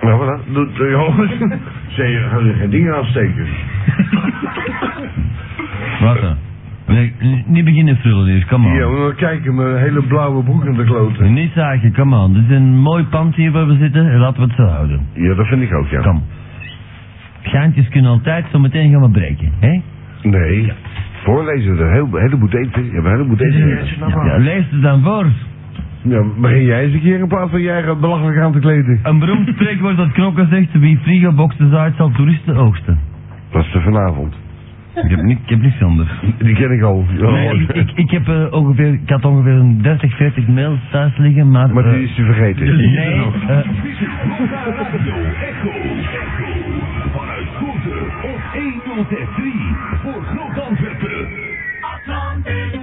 [SPEAKER 1] Nou, wat dan? Doet de jongens. <laughs> Ze gaan er geen dingen aansteken.
[SPEAKER 2] Wat dan? Nee, n- niet beginnen frullen dus, kom
[SPEAKER 1] Ja,
[SPEAKER 2] on.
[SPEAKER 1] we kijken mijn hele blauwe broek in de kloten.
[SPEAKER 2] Niet zagen, kom on. Dit is een mooi pand hier waar we zitten en laten we het zo houden.
[SPEAKER 1] Ja, dat vind ik ook, ja.
[SPEAKER 2] Kom. Gaantjes kunnen altijd zo meteen gaan we breken, hè?
[SPEAKER 1] Nee. Voorlezen, er heel, een heleboel eten. Je hebt een heleboel eten.
[SPEAKER 2] Ja, ja, lees het dan voor.
[SPEAKER 1] Ja, begin jij eens een keer in plaats van jij gaat belachelijk aan te kleden.
[SPEAKER 2] Een beroemd spreekwoord dat knokken zegt, wie frigoboxen zaait zal toeristen oogsten.
[SPEAKER 1] Dat is er vanavond.
[SPEAKER 2] Ik heb, niet, ik heb niks anders.
[SPEAKER 1] Die ken ik al. Oh.
[SPEAKER 2] Nee, ik, ik, ik heb eh, ongeveer, ik had ongeveer een 30, 40 mails thuis liggen, maar...
[SPEAKER 1] Maar
[SPEAKER 2] eh,
[SPEAKER 1] die is je vergeten.
[SPEAKER 2] nee, eh,
[SPEAKER 12] Radio Echo. Echo. Vanuit Grote op 106.3 voor Groot Antwerpen. Atlantic